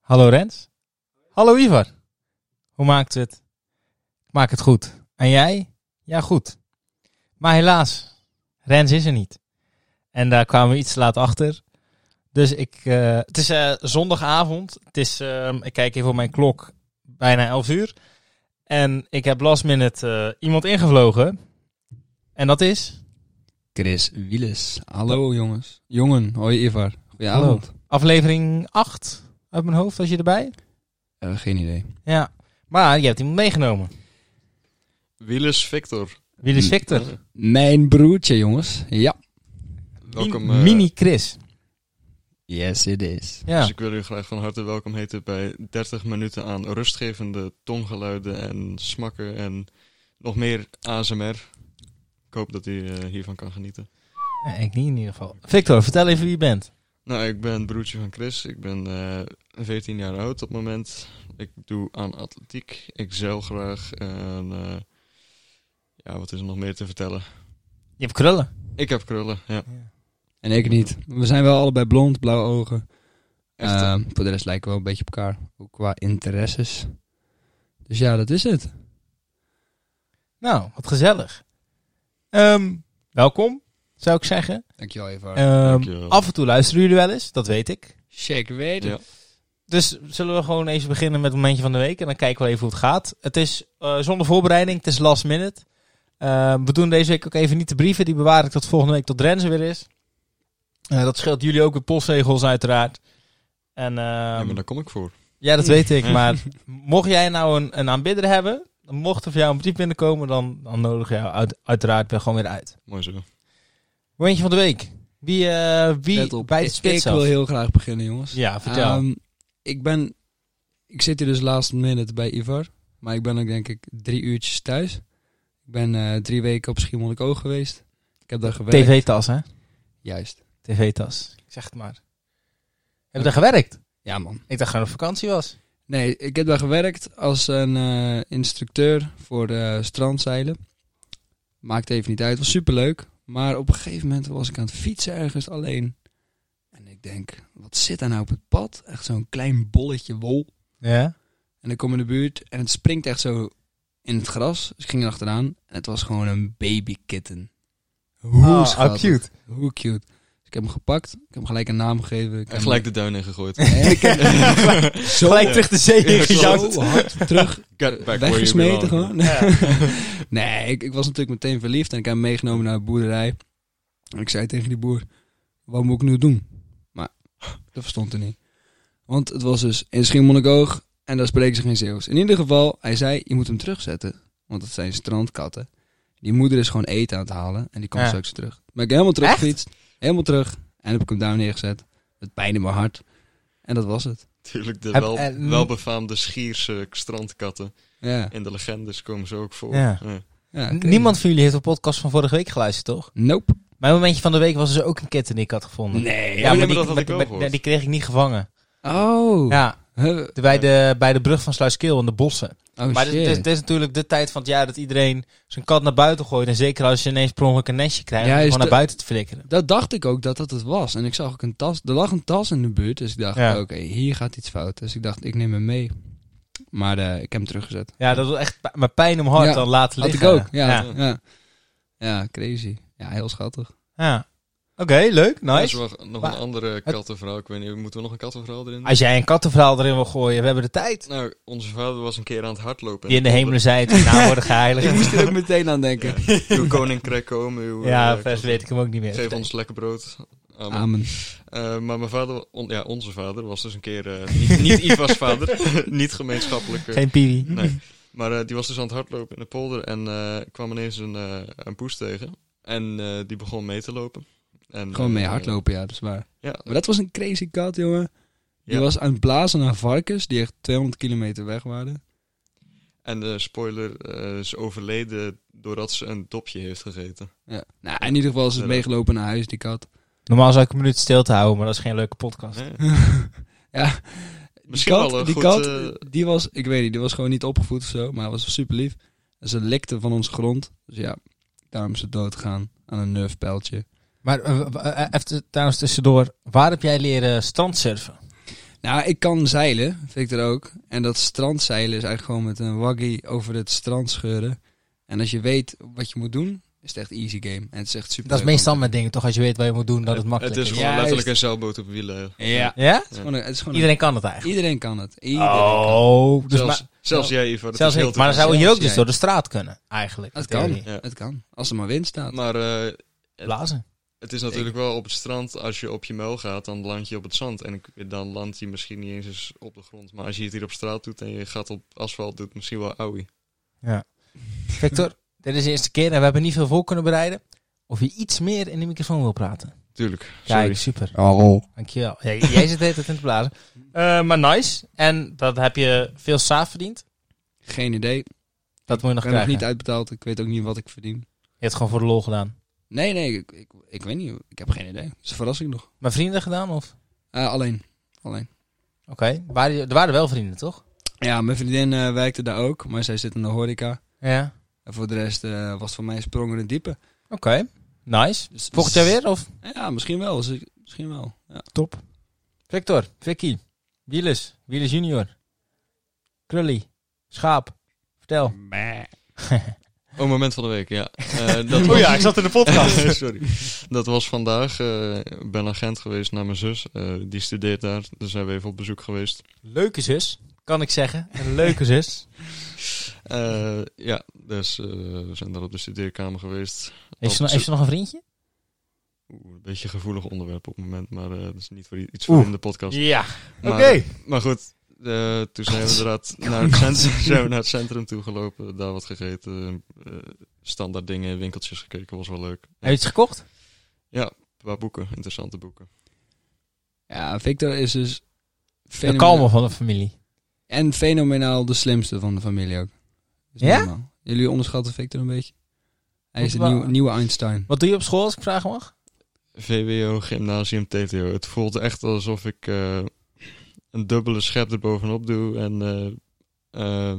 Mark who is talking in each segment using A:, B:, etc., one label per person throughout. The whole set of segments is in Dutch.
A: Hallo Rens. Hallo Ivar. Hoe maakt het? Ik maak het goed. En jij? Ja, goed. Maar helaas, Rens is er niet. En daar kwamen we iets te laat achter. Dus ik, eh, het is eh, zondagavond. Het is, ehm, ik kijk even op mijn klok, bijna 11 uur. En ik heb last minute eh, iemand ingevlogen. En dat is
B: Chris Wieles. Hallo jongens. Jongen, hoi Ivar. Goedenavond.
A: aflevering 8 uit mijn hoofd, was je erbij?
B: Eh, geen idee.
A: Ja. Maar je hebt iemand meegenomen.
C: Wielis Victor.
A: Wie is Victor?
B: Mijn broertje jongens. Ja.
C: Welkom.
A: Min-
C: eh,
A: Mini Chris.
B: Yes it is.
A: Ja.
C: Dus ik wil u graag van harte welkom heten bij 30 minuten aan rustgevende tonggeluiden en smakken en nog meer ASMR. Ik hoop dat u eh, hiervan kan genieten.
A: Nee, Ik niet in ieder geval. Victor, vertel even wie je bent.
C: Nou, ik ben het broertje van Chris. Ik ben eh, 14 jaar oud op het moment. Ik doe aan atletiek. Ik zeil graag. En eh, ja, wat is er nog meer te vertellen?
A: Je hebt krullen.
C: Ik heb krullen, ja.
B: En ik niet. We zijn wel allebei blond, blauwe ogen.
C: Echt,
B: Eh,
A: Ehm,
B: voor de rest lijken we wel een beetje op elkaar. Ook qua interesses. Dus ja, dat is het.
A: Nou, wat gezellig. Ehm, welkom, zou ik zeggen.
B: Dankjewel Ivar.
A: Ehm,
C: Oh, dankjewel.
A: af en toe luisteren jullie wel eens, dat weet ik.
B: Shake weet
C: Ja.
A: Dus zullen we gewoon even beginnen met het momentje van de week. En dan kijken we even hoe het gaat. Het is eh, zonder voorbereiding. Het is last minute. Ehm, we doen deze week ook even niet de brieven. Die bewaar ik tot volgende week tot Renze weer is. Eh, dat scheelt jullie ook weer postzegels uiteraard. En,
C: Ja,
A: ehm,
C: maar daar kom ik voor.
A: Ja, dat weet ik. Maar mocht jij nou een, een aanbidder hebben, dan mocht er voor jou een brief binnenkomen, dan, dan nodig jou uit, uiteraard weer gewoon weer uit.
C: Mooi zo.
A: Momentje van de week. Wie, eh,
B: Let
A: wie
B: op.
A: bij de
B: Ik-
A: spits
B: Ik
A: af?
B: wil heel graag beginnen jongens.
A: Ja, vertel.
B: Ehm, ik ben... Ik zit hier dus last minute bij Ivar. Maar ik ben ook denk ik drie uurtjes thuis. Ik ben eh, drie weken op Schiermonnikoog geweest. Ik heb daar gewerkt.
A: TV-tas, hè?
B: Juist.
A: TV-tas. Ik zeg het maar. Heb je daar gewerkt?
B: Ja man.
A: Ik dacht gewoon op vakantie was.
B: Nee, ik heb daar gewerkt als een eh, instructeur voor eh, strandzeilen. Maakt even niet uit, was superleuk. Maar op een gegeven moment was ik aan het fietsen ergens alleen. En ik denk, wat zit daar nou op het pad? Echt zo'n klein bolletje wol.
A: Ja?
B: En ik kom in de buurt en het springt echt zo in het gras. Dus ik ging erachteraan en het was gewoon een babykitten. Hoe
A: Oh,
B: schattig.
A: Ah, cute.
B: Hoe cute. Dus ik heb hem gepakt, ik heb hem gelijk een naam gegeven. Ik heb
C: En
B: hem-
C: gelijk de duin ingegooid.
B: En ik heb hem zo,
A: Gelijk terug de zee
C: Ja,
A: ingejouwd.
B: zo hard terug
C: Get back where you
B: weggesmeten
C: belong.
B: gewoon. nee, ik, ik was natuurlijk meteen verliefd en ik heb hem meegenomen naar de boerderij. En ik zei tegen die boer, wat moet ik nu doen? Maar dat verstond hij niet. Want het was dus in Schiermonnikoog en daar spreken ze geen Zeeuws. In ieder geval, hij zei, je moet hem terugzetten. Want dat zijn strandkatten. Die moeder is gewoon eten aan het halen en die komt
A: Ja.
B: straks terug. Maar ik heb helemaal
A: Echt?
B: teruggefietst, helemaal terug. En heb ik hem daar neergezet. Het pijn in mijn hart. En dat was het.
C: Natuurlijk, de
A: Heb-
C: wel,
A: en-
C: welbefaamde Schierse strandkatten.
B: Ja,
C: In de legendes komen ze ook voor.
A: Ja.
B: ja oké.
A: Niemand van jullie heeft de podcast van vorige week geluisterd, toch?
B: Nope.
A: Mijn momentje van de week was dus ook een kitten die ik had gevonden.
B: Nee.
C: maar
A: die,
C: dat had ik wel
A: die-
C: gehoord.
A: die kreeg ik niet gevangen.
B: Oh.
A: Ja,
B: Huh.
A: De- bij, de, bij de brug van Sluiskeel in de bossen.
B: Oh
A: maar dit,
B: shit.
A: dit- dit is natuurlijk de tijd van het jaar dat iedereen zijn kat naar buiten gooit. En zeker als je ineens per ongeluk een nestje krijgt, om
B: Juist,
A: gewoon naar
B: dat-
A: buiten te flikkeren.
B: dat dacht ik ook dat dat het was. En ik zag ook een tas. Er lag een tas in de buurt. Dus ik dacht,
A: Ja.
B: oké, hier gaat iets fout. Dus ik dacht, ik neem hem mee. Maar eh, ik heb hem teruggezet.
A: Ja, dat was echt p- mijn pijn om hart
B: Ja,
A: dan laten
B: Had ik
A: liggen.
B: ook. Ja,
A: ja.
B: ja. ja. crazy. Ja, heel schattig.
A: Ja. Oké, leuk,
C: Er is
A: nice.
C: wel nog
A: Maar-
C: een andere kattenverhaal. Ik weet niet, moeten we nog een kattenverhaal erin? doen?
A: Als jij een kattenverhaal erin wil gooien, we hebben de tijd.
C: Nou, onze vader was een keer aan het hardlopen.
A: Die in de hemelen zijn, die naam worden geheiligd.
B: Ik moest er ook meteen aan denken.
C: Ja. Uw koninkrijk komen. Uw,
A: Ja,
C: eh,
A: vers weet ik hem ook niet meer.
C: Geef ons lekker brood. Amen.
B: Amen.
C: Eh, maar mijn vader, on- ja, onze vader, was dus een keer... eh, niet, niet Iva's vader. niet gemeenschappelijk. eh,
A: Geen piri.
C: Nee. Maar eh, die was dus aan het hardlopen in de polder en eh, kwam ineens een, eh, een poes tegen. En eh, die begon mee te lopen. En,
B: Gewoon mee
C: eh,
B: hardlopen, ja, dat is waar.
C: Ja,
B: Maar dat was een crazy kat, jongen. Die
C: Ja.
B: was aan het blazen naar varkens die echt 200 kilometer weg waren.
C: En de spoiler eh, is overleden doordat ze een dopje heeft gegeten.
B: Ja. Nou, in ieder geval is het
C: Ja.
B: meegelopen naar huis, die kat.
A: Normaal zou ik een minuut stil te houden, maar dat is geen leuke podcast.
B: Ja,
C: Misschien
B: die kat,
C: wel een
B: die,
C: goed,
B: kat
C: eh,
B: die was, ik weet niet, die was gewoon niet opgevoed of zo, maar hij was super lief. En ze likte van onze grond. Dus ja, daarom is ze doodgaan aan een nerfpijltje.
A: Maar eh, w- w- eh, even trouwens tussendoor, waar heb jij leren strandsurfen?
B: Nou, ik kan zeilen, vind ik er ook. En dat strandzeilen is eigenlijk gewoon met een waggy over het strand scheuren. En als je weet wat je moet doen, is het echt easy game. En het is echt super.
A: Dat is
B: leuk om
A: meestal
B: te-
A: met dingen, toch? Als je weet wat je moet doen, dat het,
C: Het
A: makkelijk
C: is
A: is.
C: gewoon
B: Juist.
C: letterlijk een zeilboot op wielen.
B: Ja. Het
A: Ja?
B: is gewoon een- het is gewoon een-
A: Iedereen kan het eigenlijk.
B: iedereen kan het. Iedereen kan het.
A: Oh, dus
C: zelfs,
A: maar,
C: zelfs jij, Ivar. dat
A: zelfs
C: is heel
A: ik.
C: te
A: Maar dan
C: veel.
A: zou je ook
B: Zelfs
A: dus
B: jij.
A: door de straat kunnen, eigenlijk.
B: Het
A: in
B: kan.
A: theorie.
C: Ja.
B: Het kan. Als er maar wind staat.
C: Maar eh,
A: Blazen.
C: het is natuurlijk wel op het strand, als je op je muil gaat, dan land je op het zand. En ik- dan land je misschien niet eens eens op de grond. Maar als je het hier op straat doet en je gaat op asfalt, doet het misschien wel auwie.
A: Victor, dit is de eerste keer en we hebben niet veel voor kunnen bereiden. Of je iets meer in de microfoon wil praten.
C: Tuurlijk.
A: Kijk,
C: Sorry.
A: super.
B: Oh.
A: Dankjewel. Ja, jij zit de hele tijd in te blazen. Eh, maar nice. En dat heb je veel saaf verdiend.
B: Geen idee.
A: Dat moet je nog
B: Ik ben nog
A: krijgen.
B: niet uitbetaald. Ik weet ook niet wat ik verdien.
A: Je hebt het gewoon voor de lol gedaan.
B: Nee, nee. Ik, ik, ik weet niet. Ik heb geen idee. Dat is een verrassing nog.
A: Maar vrienden gedaan of?
B: Eh, alleen. Alleen.
A: Oké. Waren, er waren wel vrienden, toch?
B: Ja, mijn vriendin eh, werkte daar ook. Maar zij zit in de horeca.
A: Ja.
B: En voor de rest eh, was het voor mij sprongen in het diepe.
A: Oké. Nice.
B: Dus,
A: Volgend jaar weer of?
B: Ja, misschien wel. Dus ik- Misschien wel. Ja.
A: Top. Victor, Vicky, Wielis, Wielis junior, Krully, Schaap, vertel.
C: Oh, moment van de week, ja. Eh, dat
A: Oh ja, ik zat in de podcast.
C: Sorry. Dat was vandaag. eh, Ik ben agent geweest naar mijn zus. Eh, die studeert daar. Daar zijn we even op bezoek geweest.
A: Leuke zus, kan ik zeggen. Een leuke zus.
C: Eh, ja, dus eh, we zijn daar op de studeerkamer geweest.
A: Heeft ze, nog- heeft ze nog een vriendje?
C: Oeh, een beetje een gevoelig onderwerp op het moment, maar eh, dat is niet voor i- iets voor
A: Oeh.
C: in de podcast.
A: Ja.
C: Maar, maar goed, eh, toen zijn we inderdaad naar het, centrum, zijn we naar het centrum toe gelopen. Daar wat gegeten. eh, standaard dingen, winkeltjes gekeken, was wel leuk.
A: Heb je iets gekocht?
C: Een paar boeken, interessante boeken.
B: Ja, Victor is dus...
A: De
B: fenomenaal-
A: kalmer van de familie.
B: En fenomenaal de slimste van de familie ook. Dat is
A: Ja?
B: normaal. Jullie onderschatten Victor een beetje. Hij is de
A: Wa-
B: nieuwe, nieuwe Einstein.
A: Wat doe je op school, als ik vragen mag?
C: VWO, gymnasium, TTO. Het voelt echt alsof ik eh, een dubbele schep erbovenop doe en eh, eh,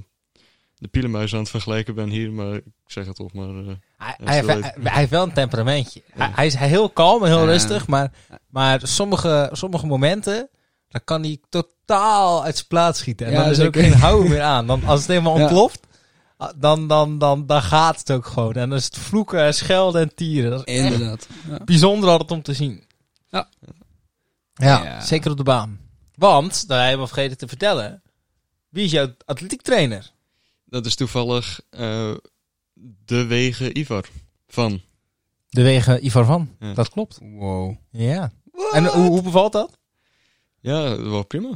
C: de pielenmuis aan het vergelijken ben hier, maar ik zeg het toch maar... eh,
A: Hij,
C: Ja,
A: hij, heeft,
C: zo
A: hij,
C: leuk.
A: hij heeft wel een temperamentje. Hij,
C: Ja.
A: hij is heel kalm en heel
B: Ja.
A: rustig, maar,
B: Ja.
A: maar sommige, sommige momenten, dan kan hij totaal uit zijn plaats schieten. En
B: Ja,
A: dan is er ook
B: zeker.
A: geen houden meer aan. Dan, als het helemaal
B: Ja.
A: ontploft, ah, dan, dan, dan, dan gaat het ook gewoon. En dan is het vloeken, en schelden en tieren. Dat is echt
B: Inderdaad. Ja.
A: bijzonder altijd om te zien.
B: Ja.
A: Ja,
B: Ja.
A: zeker op de baan. Want, daar hebben we vergeten te vertellen, wie is jouw atletiektrainer?
C: Dat is toevallig eh, de wegen Ivar van.
A: De wegen Ivar van.
C: Ja.
A: Dat klopt.
B: Wow. Oké,
A: Ja. En hoe, hoe bevalt dat?
C: Ja, wel prima.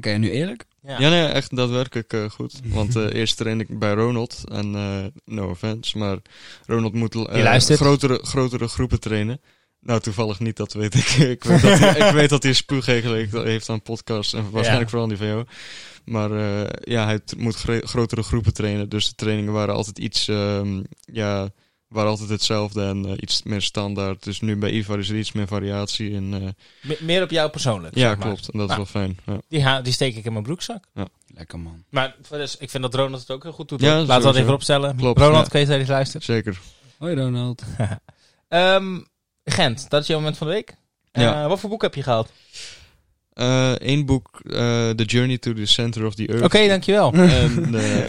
C: Ja,
B: nu eerlijk.
A: Ja.
C: ja. nee, echt daadwerkelijk eh, goed. Want eh, eerst train ik bij Ronald. En eh, no offense, maar Ronald moet eh,
A: Die luistert.
C: grotere, grotere groepen trainen. Nou, toevallig niet, dat weet ik. ik, weet dat, hij- ik weet dat hij spuugregel heeft- heeft aan podcasts en waarschijnlijk
A: Ja.
C: vooral aan die van jou. Maar eh, ja, hij t- moet gre- grotere groepen trainen. Dus de trainingen waren altijd iets, ehm, ja, waren altijd hetzelfde en eh, iets meer standaard. Dus nu bij Ivar is er iets meer variatie in. eh,
A: Me- meer op jou persoonlijk.
C: ja,
A: zeg maar.
C: klopt. En dat
A: Nou.
C: is wel fijn. Ja.
A: Die, ha- die steek ik in mijn broekzak.
B: Lekker man.
A: Maar voor dus, ik vind dat Ronald het ook heel goed doet.
C: Ja,
A: hoor. Laten we dat
C: sowieso.
A: even opstellen.
C: Klopt,
A: Ronald,
C: ja.
A: ik weet dat je luistert.
C: Zeker.
B: Hoi Ronald.
A: Ehm, Gent, dat is jouw moment van de week. Eh,
C: Ja.
A: wat voor boek heb je gehaald? Oké,
C: Eén boek, eh, The Journey to the Center of the Earth.
A: dankjewel.
C: En, eh,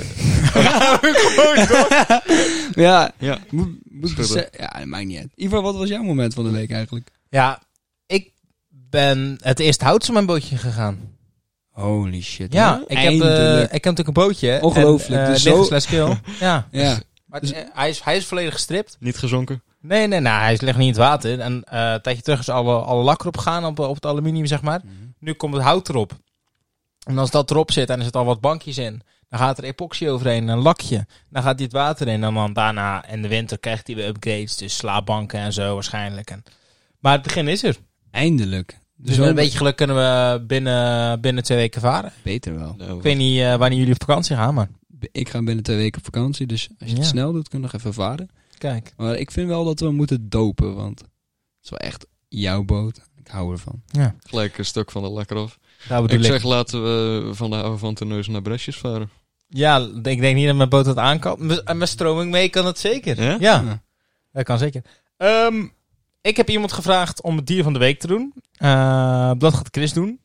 B: ja.
C: ja,
B: Moet, moet
C: Schudden.
B: bese- ja, dat maakt niet uit. Ivar, wat was jouw moment van de week eigenlijk?
A: ja, ik ben het eerst houts op mijn bootje gegaan.
B: Holy shit.
A: Ja,
B: hè?
A: ik heb, eh,
B: Eindelijk.
A: ik heb natuurlijk een bootje. hè,
B: Ongelooflijk,
A: En, eh,
B: dus
A: licht
B: zo-
A: slash kil. ja,
B: ja.
A: maar
C: Dus-
A: eh, hij, is, hij is volledig gestript.
C: niet gezonken.
A: Nee, nee, nee, hij ligt niet in het water. En eh, een tijdje terug is alle, alle lak erop gegaan, op, op het aluminium, zeg maar.
C: Mhm.
A: Nu komt het hout erop. En als dat erop zit en er zitten al wat bankjes in, dan gaat er epoxy overheen, een lakje. Dan gaat dit het water in en dan daarna in de winter krijgt hij weer upgrades. Dus slaapbanken en zo waarschijnlijk. En, maar het begin is er.
B: Eindelijk.
A: Dus met een beetje geluk kunnen we binnen, binnen twee weken varen.
B: beter wel.
C: Ja,
A: Ik weet niet eh, wanneer jullie op vakantie gaan, maar
B: Ik ga binnen twee weken op vakantie, dus als je
A: Ja.
B: het snel doet, kun je nog even varen.
A: kijk.
B: Maar ik vind wel dat we moeten dopen, want het is wel echt jouw boot. Ik hou ervan.
A: Ja,
C: Gelijk een stuk van de lakker af.
A: daar bedoel
C: Ik
A: ik.
C: zeg, laten we van de oude van neus naar Bresjes varen.
A: Ja, ik denk niet dat mijn boot dat aankapt. Met- en Met stroming mee kan het zeker.
C: Ja?
A: ja.
B: Ja.
A: Dat kan zeker. Ehm, Ehm, ik heb iemand gevraagd om het dier van de week te doen. Eh, dat gaat Chris doen.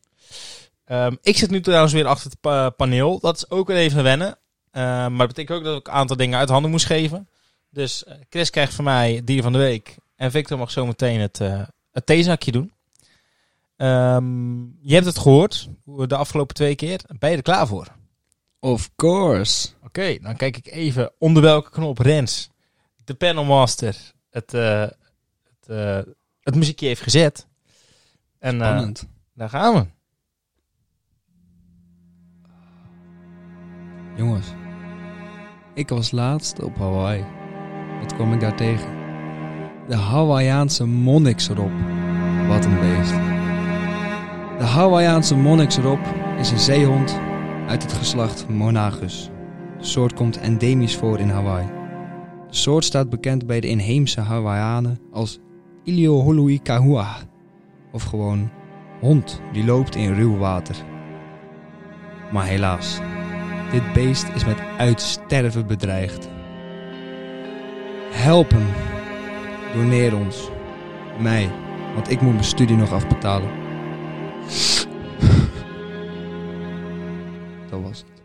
A: Eh, Ehm, ik zit nu trouwens weer achter het pa- paneel. Dat is ook weer even wennen. Ehm, maar dat betekent ook dat ik een aantal dingen uit handen moest geven. Dus eh, Chris krijgt van mij het dier van de week. En Victor mag zometeen het, eh het theezakje doen. Ehm, je hebt het gehoord de afgelopen twee keer. Ben je er klaar voor?
B: Of course.
A: Oké, dan kijk ik even onder welke knop Rens, de panelmaster, het, eh, het, eh, het muziekje heeft gezet. En eh,
B: Spannend.
A: daar gaan we.
B: Jongens, ik was laatst op Hawaii. Wat kwam ik daar tegen? De Hawaiiaanse monniksrop. Wat een beest. De Hawaiiaanse monniksrop is een zeehond uit het geslacht Monagus. De soort komt endemisch voor in Hawaii. De soort staat bekend bij de inheemse Hawaiianen als Ilioholui kahua. Of gewoon hond die loopt in ruw water. Maar helaas, dit beest is met uitsterven bedreigd. Help hem. Doneer ons. Mij, want ik moet mijn studie nog afbetalen. Dat was het.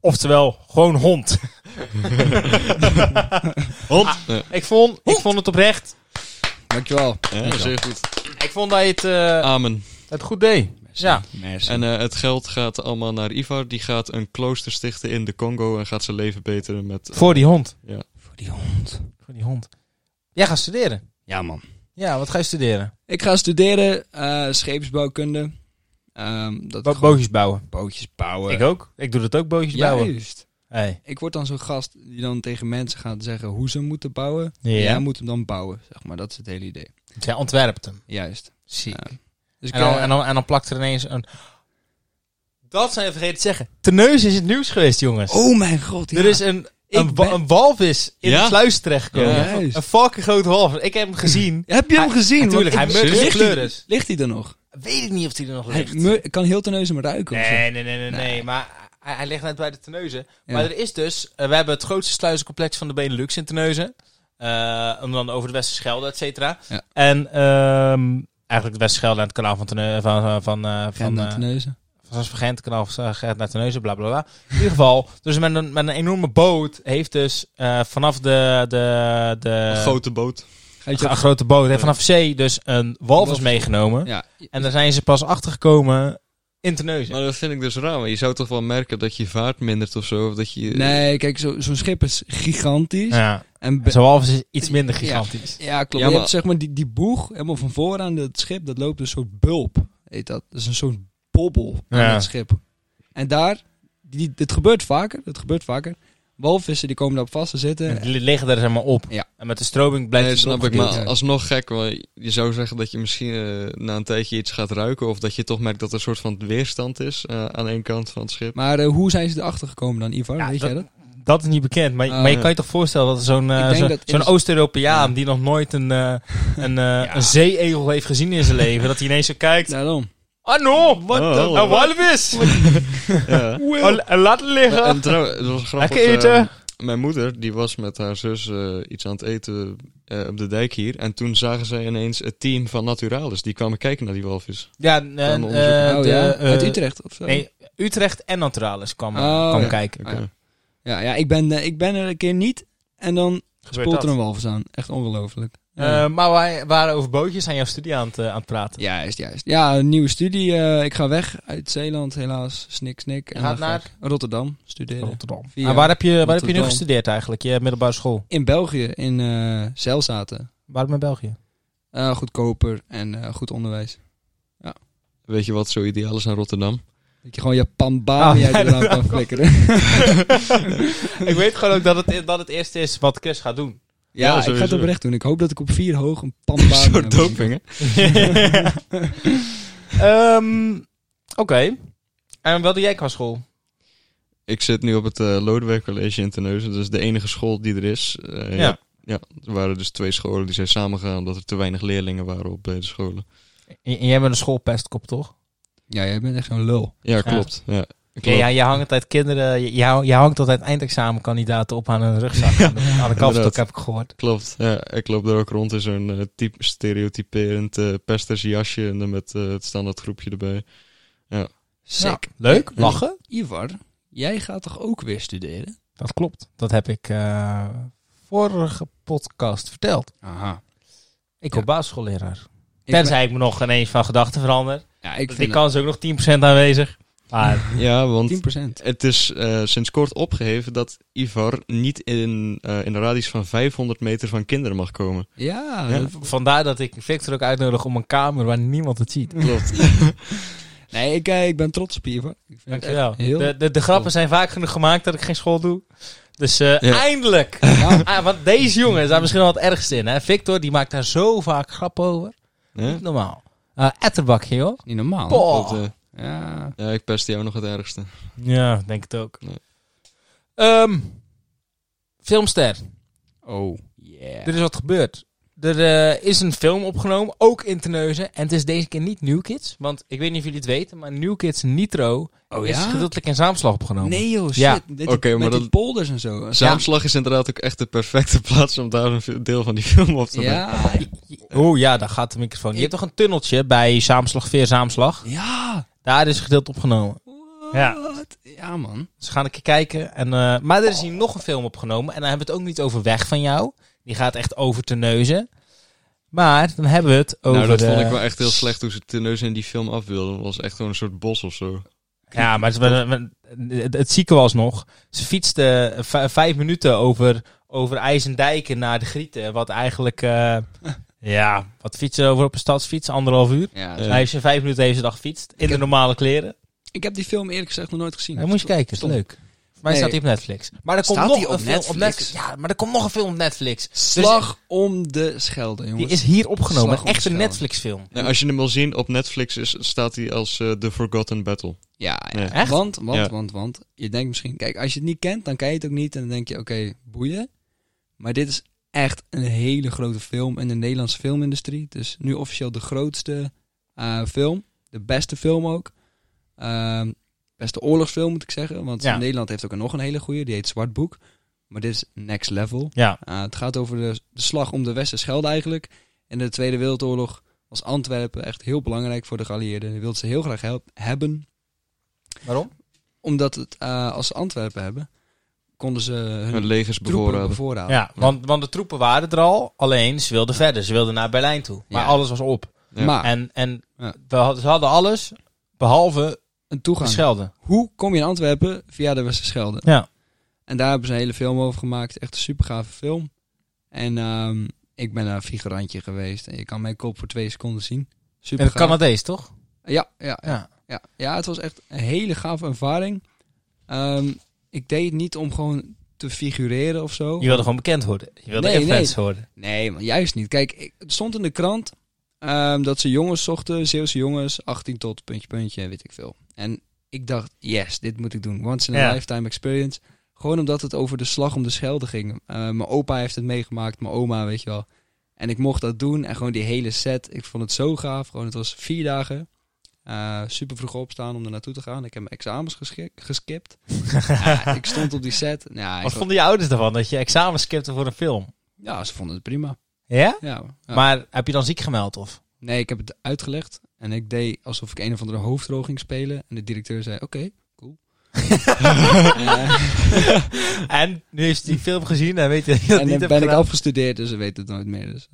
A: Oftewel, gewoon hond.
C: Hond! ja,
A: Ah, ik, vond, ik vond het oprecht.
B: Dankjewel.
C: ja, zeer goed.
A: Ik vond dat je het, eh,
C: Amen.
A: het goed deed. Ja.
B: Merci.
C: En eh, het geld gaat allemaal naar Ivar. Die gaat een klooster stichten in de Congo en gaat zijn leven beteren met...
A: Voor die hond.
B: Voor die hond.
A: Voor die hond. Jij gaat studeren.
B: Ja, man.
A: Ja, wat ga je studeren?
B: Ik ga studeren eh, scheepsbouwkunde. Ehm dat
A: Bo-
B: gewoon
A: bootjes bouwen.
B: bootjes bouwen.
A: Ik ook. Ik doe dat ook, bootjes bouwen.
B: Juist.
A: Hey.
B: Ik word dan zo'n gast die dan tegen mensen gaat zeggen hoe ze moeten bouwen.
A: Ja.
B: En jij moet hem dan bouwen, zeg maar. Dat is het hele idee.
A: Zij ontwerpt hem.
B: Juist.
A: Ziek.
B: Ja. Dus
A: En dan, en, dan, en dan plakt er ineens een... Dat zijn we vergeten te zeggen. Teneus is het nieuws geweest, jongens.
B: Oh mijn god.
A: er is een, een, wa-
B: ben-
A: een walvis in
C: Ja?
A: de sluis terechtgekomen.
C: Ja.
A: Een valkengrote walvis. Ik heb hem gezien.
B: Heb je hem
A: Hij-
B: gezien?
A: Natuurlijk, hij
B: Want ik-
A: murt zijn
B: ligt,
A: kleur
B: hij,
A: is.
B: ligt hij er nog?
A: Weet ik niet of hij er nog
B: Hij
A: ligt.
B: mur- kan heel teneus hem ruiken. of zo.
A: Nee, nee, nee, nee, nee.
B: Nee.
A: Maar hij, hij ligt net bij de Terneuzen.
B: Ja.
A: Maar er is dus... eh, we hebben het grootste sluizencomplex van de Benelux in Terneuzen. Eh, om dan over de Westerschelde, et cetera.
B: Ja.
A: En ehm, eigenlijk de Westerschelde en het kanaal van... Terneu- van, van, van, eh,
B: Gaan
A: van
B: naar
A: eh,
B: teneuzen.
A: Zoals Vergent, kanaal gaat naar Terneuzen, bla bla bla. In ieder geval, dus met een, met een enorme boot heeft dus eh, vanaf de. de, de
C: Een grote boot.
B: Gaat je
A: een grote boot heeft vanaf zee dus een walvis meegenomen.
B: ja.
A: En daar zijn ze pas achtergekomen in Terneuzen.
C: Maar dat vind ik dus raar. want je zou toch wel merken dat je vaart mindert of zo? Of dat je...
B: Nee, kijk, zo- zo'n schip is gigantisch.
A: Ja,
B: En be-
A: zo'n walvis is iets minder gigantisch.
B: ja, klopt.
C: Ja,
B: Je
C: maar-
B: hebt zeg maar die, die boeg, helemaal van vooraan het schip, dat loopt een soort bulp. Heet dat. Dat is een soort bobbel
A: Ja.
B: aan het schip. En daar, die, dit gebeurt vaker, dat gebeurt vaker. Walvissen die komen daarop vast te zitten.
A: En Die liggen er helemaal op.
B: Ja.
A: En met de stroming blijft
C: Nee,
A: het
C: snap ik.
A: opgeduwd.
C: Maar alsnog gek. Want je zou zeggen dat je misschien eh, na een tijdje iets gaat ruiken. Of dat je toch merkt dat er een soort van weerstand is eh, aan één kant van het schip.
B: Maar eh, hoe zijn ze erachter gekomen dan, Ivar?
A: Ja,
B: Weet jij dat?
A: Dat is niet bekend, maar,
B: Ah,
A: maar je
C: ja.
A: kan je toch voorstellen dat er zo'n eh,
B: Ik denk
A: zo-
B: dat
A: zo'n
B: in-
A: Oost-Europeaan die nog nooit een, eh een, eh een zeeegel heeft gezien in zijn leven, dat hij ineens zo kijkt.
B: Daarom.
A: Ah no, wat
C: Oh,
A: een
C: wat?
A: walvis!
C: Ja.
A: Een een lat liggen!
C: En trouw, het was grappig.
A: Lekker eten.
B: ehm,
C: eh, mijn moeder die was met haar zus eh, iets aan het eten eh, op de dijk hier. En toen zagen zij ineens het team van Naturalis. Die kwamen kijken naar die walvis.
A: Ja, en, eh,
C: onderzoek.
A: eh,
B: oh,
A: de,
B: ja.
A: eh,
B: Uit Utrecht of zo?
A: Nee, Utrecht en Naturalis kwam,
B: Oh,
A: kwam
B: ja.
A: kijken.
B: Ah, ja. Ja, ja ik, ben, eh, ik ben er een keer niet en dan
A: Gebeurt
B: spoelt er
A: dat.
B: een walvis aan. Echt ongelooflijk.
A: Eh, maar wij waren over bootjes aan jouw studie aan het, eh, aan het praten.
B: juist, juist. Ja, een nieuwe studie. eh, ik ga weg uit Zeeland, helaas. Snik, snik.
A: Je gaat
B: dan ga
A: naar?
B: ik Rotterdam studeren.
A: Rotterdam.
B: Via
A: En waar heb je, waar heb je nu
B: Rotterdam.
A: gestudeerd eigenlijk? Je middelbare school.
B: In België, in eh Zeilzaten.
A: Waarom in België?
B: Eh, goedkoper en eh, goed onderwijs.
C: Weet je wat zo ideaal is aan Rotterdam?
B: Dat je gewoon je pandbaan
A: Ah, ja,
B: uit de raam kan flikkeren. ja,
A: ik weet gewoon ook dat het, dat het eerste is wat Chris gaat doen.
B: ik ga het
C: sowieso.
B: oprecht doen. Ik hoop dat ik op vier hoog een
C: Een
B: pandbaan
C: soort
B: heb.
C: doping, hè?
A: Ehm, Oké. En wat doe jij qua school?
C: Ik zit nu op het eh Lodewijk College in Terneuzen. Dat is de enige school die er is. Eh,
A: Ja.
C: ja. ja. Er waren dus twee scholen die zijn samengegaan omdat er te weinig leerlingen waren op beide scholen.
A: En jij bent een schoolpestkop, toch?
B: Ja, jij bent echt zo'n lul.
C: Ja, klopt. Ja.
A: Ja, ja, je hangt altijd kinderen, je, je hang- je hangt altijd eindexamenkandidaten op aan hun rugzak. aan de- aan de kapstok
C: inderdaad.
A: heb ik gehoord.
C: Klopt. Ja, ik loop er ook rond in zo'n eh, typ- stereotyperend eh pesters jasje en dan met eh, het standaard groepje erbij.
B: Sick.
A: Nou, leuk, lachen.
B: Ivar, jij gaat toch ook weer studeren?
A: Dat klopt. Dat heb ik eh, vorige podcast verteld.
B: Aha.
A: Ik
B: Ja.
A: word basisschoolleraar.
B: Ik
A: Tenzij ik me nog ineens van gedachten verander.
B: ben- ja, ik
A: Die
B: vind
A: kans is ook nog 10% aanwezig. Maar
C: Ja, want
B: het 10%.
C: Het is eh, sinds kort opgeheven dat Ivar niet in, eh, in een radius van 500 meter van kinderen mag komen.
B: Ja,
C: Ja.
B: dat-
A: vandaar dat ik Victor ook uitnodig om een kamer waar niemand het ziet.
C: Klopt.
B: nee, ik, eh, ik ben trots op Ivar. Ik vind het
A: Dankjewel.
B: echt heel
A: De, de, de grappen zijn vaak genoeg gemaakt dat ik geen school doe. Dus eh,
C: Ja.
A: eindelijk! Ah, want deze jongen is daar misschien wel het ergste in. Hè? Victor, die maakt daar zo vaak grappen over.
C: ja?
A: Niet normaal. Eh etterbakje, joh.
B: niet normaal.
A: Poh.
C: Klopt, eh.
B: Ja.
C: ja, ik pest jou nog het ergste.
A: Oh. Ja, denk het ook.
C: Nee.
A: Ehm, filmster.
B: Oh, yeah.
A: Er is wat gebeurd. Er eh, is een film opgenomen, ook in Terneuzen. En het is deze keer niet New Kids. Want ik weet niet of jullie het weten, maar New Kids Nitro
B: Oh
A: is
B: ja?
A: gedeeltelijk in Zaamslag opgenomen.
B: Nee joh, shit.
A: Ja.
B: Dit,
C: Oké,
B: met
C: maar
B: die
C: dat-
B: polders en zo.
C: Zaamslag is inderdaad ook echt de perfecte plaats om daar een vi- deel van die film op te nemen.
B: Ja.
C: Eh.
A: Oh ja, daar gaat de microfoon. Je hebt toch een tunneltje bij Zaamslag, Veer Zaamslag?
B: Ja.
A: Daar is gedeeld opgenomen. Ja.
B: What? Ja, man.
A: Dus we gaan een keer kijken. En, eh, maar er is hier nog een film opgenomen. En dan hebben we het ook niet over Weg van jou. Die gaat echt over Terneuzen. Maar dan hebben we het over...
C: nou, dat vond
A: eh,
C: ik wel echt heel slecht hoe ze Teneus in die film af wilden. Dat was echt gewoon een soort bos of zo.
A: Ja, maar het, maar- maar- het, het zieke was nog. Ze fietste v- vijf minuten over, over IJsendijken naar de Grieten. Wat eigenlijk... eh, ja, wat fietsen over op een stadsfiets? Anderhalf uur.
B: Ja,
C: Eh.
A: Hij heeft ze vijf minuten deze dag gefietst. In de
B: heb-
A: normale kleren.
B: Ik heb die film eerlijk gezegd nog nooit gezien.
A: Dan moet je kijken, is
B: Stom.
A: leuk. Voor mij
B: Nee.
A: staat hij op Netflix. Maar er komt
B: Staat
A: nog
B: die
A: een
B: op
A: film op
B: Netflix?
A: Netflix. Ja, maar er komt nog een film op Netflix.
B: Slag om de Schelde,
A: Die
B: jongens.
A: is hier opgenomen.
B: Slag
A: Een
B: om
A: echte
B: Schelde.
A: Netflix-film.
C: Nou, als je hem wil zien, op Netflix is, staat hij als eh, The Forgotten Battle.
B: Ja, ja.
C: Ja.
A: Echt?
B: Want, want,
C: Ja.
B: want, want. Je denkt misschien... Kijk, als je het niet kent, dan ken je het ook niet. En dan denk je, oké, boeien. Maar dit is echt een hele grote film in de Nederlandse filmindustrie. Dus nu officieel de grootste eh, film. De beste film ook. Ehm, beste oorlogsfilm, moet ik zeggen. Want
A: Ja.
B: Nederland heeft ook nog een hele goede. Die heet Zwart Boek. Maar dit is Next Level.
A: Ja.
B: Uh, het gaat over de, de slag om de Westerschelde eigenlijk. In de Tweede Wereldoorlog was Antwerpen echt heel belangrijk voor de geallieerden. Die wilden ze heel graag help- hebben.
A: Waarom?
B: Omdat het, eh, als ze Antwerpen hebben, konden ze hun
C: Een legers
B: troepen
C: bevoorraden.
A: Ja,
B: bevoorraden.
A: want, want de troepen waren er al. Alleen, ze wilden verder. Ze wilden naar Berlijn toe. Maar
B: Ja.
A: alles was op.
C: Ja.
B: Maar
A: En, en
B: Ja.
A: we hadden, ze hadden alles, behalve
B: een
A: de
B: toegang.
A: Schelde.
B: Hoe kom je in Antwerpen? Via de Westerschelde.
A: Ja.
B: En daar hebben ze een hele film over gemaakt. Echt een super gave film. En ehm, ik ben daar een figurantje geweest. En je kan mijn kop voor twee seconden zien. Super
A: En het Canadees, toch?
B: Ja, ja,
A: Ja.
B: Ja, ja het was echt een hele gave ervaring. Ehm, ik deed het niet om gewoon te figureren of zo.
A: Je wilde gewoon bekend worden. Je wilde
B: Nee,
A: influencer worden.
B: Nee, maar juist niet. Kijk, ik, het stond in de krant ehm, dat ze jongens zochten, Zeeuwse jongens, 18 tot puntje, puntje, weet ik veel. En ik dacht, yes, dit moet ik doen. Once in a
A: Ja.
B: lifetime experience. Gewoon omdat het over de slag om de Schelde ging. Eh, mijn opa heeft het meegemaakt, mijn oma, weet je wel. En ik mocht dat doen en gewoon die hele set. Ik vond het zo gaaf. Gewoon, het was vier dagen. Eh, super vroeg opstaan om er naartoe te gaan. Ik heb mijn examens geschik- geskipt. Ja, ik stond op die set. Ja,
A: Wat
B: ik vond...
A: vonden je ouders ervan dat je examen skipte voor een film?
B: ja, ze vonden het prima.
A: Ja?
B: Ja, ja.
A: Maar heb je dan ziek gemeld of?
B: Nee, ik heb het uitgelegd. En ik deed alsof ik een of andere hoofdrol ging spelen. En de directeur zei, oké, cool. Eh,
A: En nu heeft hij die film gezien en weet je dat je dat
B: en
A: niet
B: dan
A: hebt
B: ben ik
A: gedaan.
B: afgestudeerd, dus ze weten het nooit meer. Dus.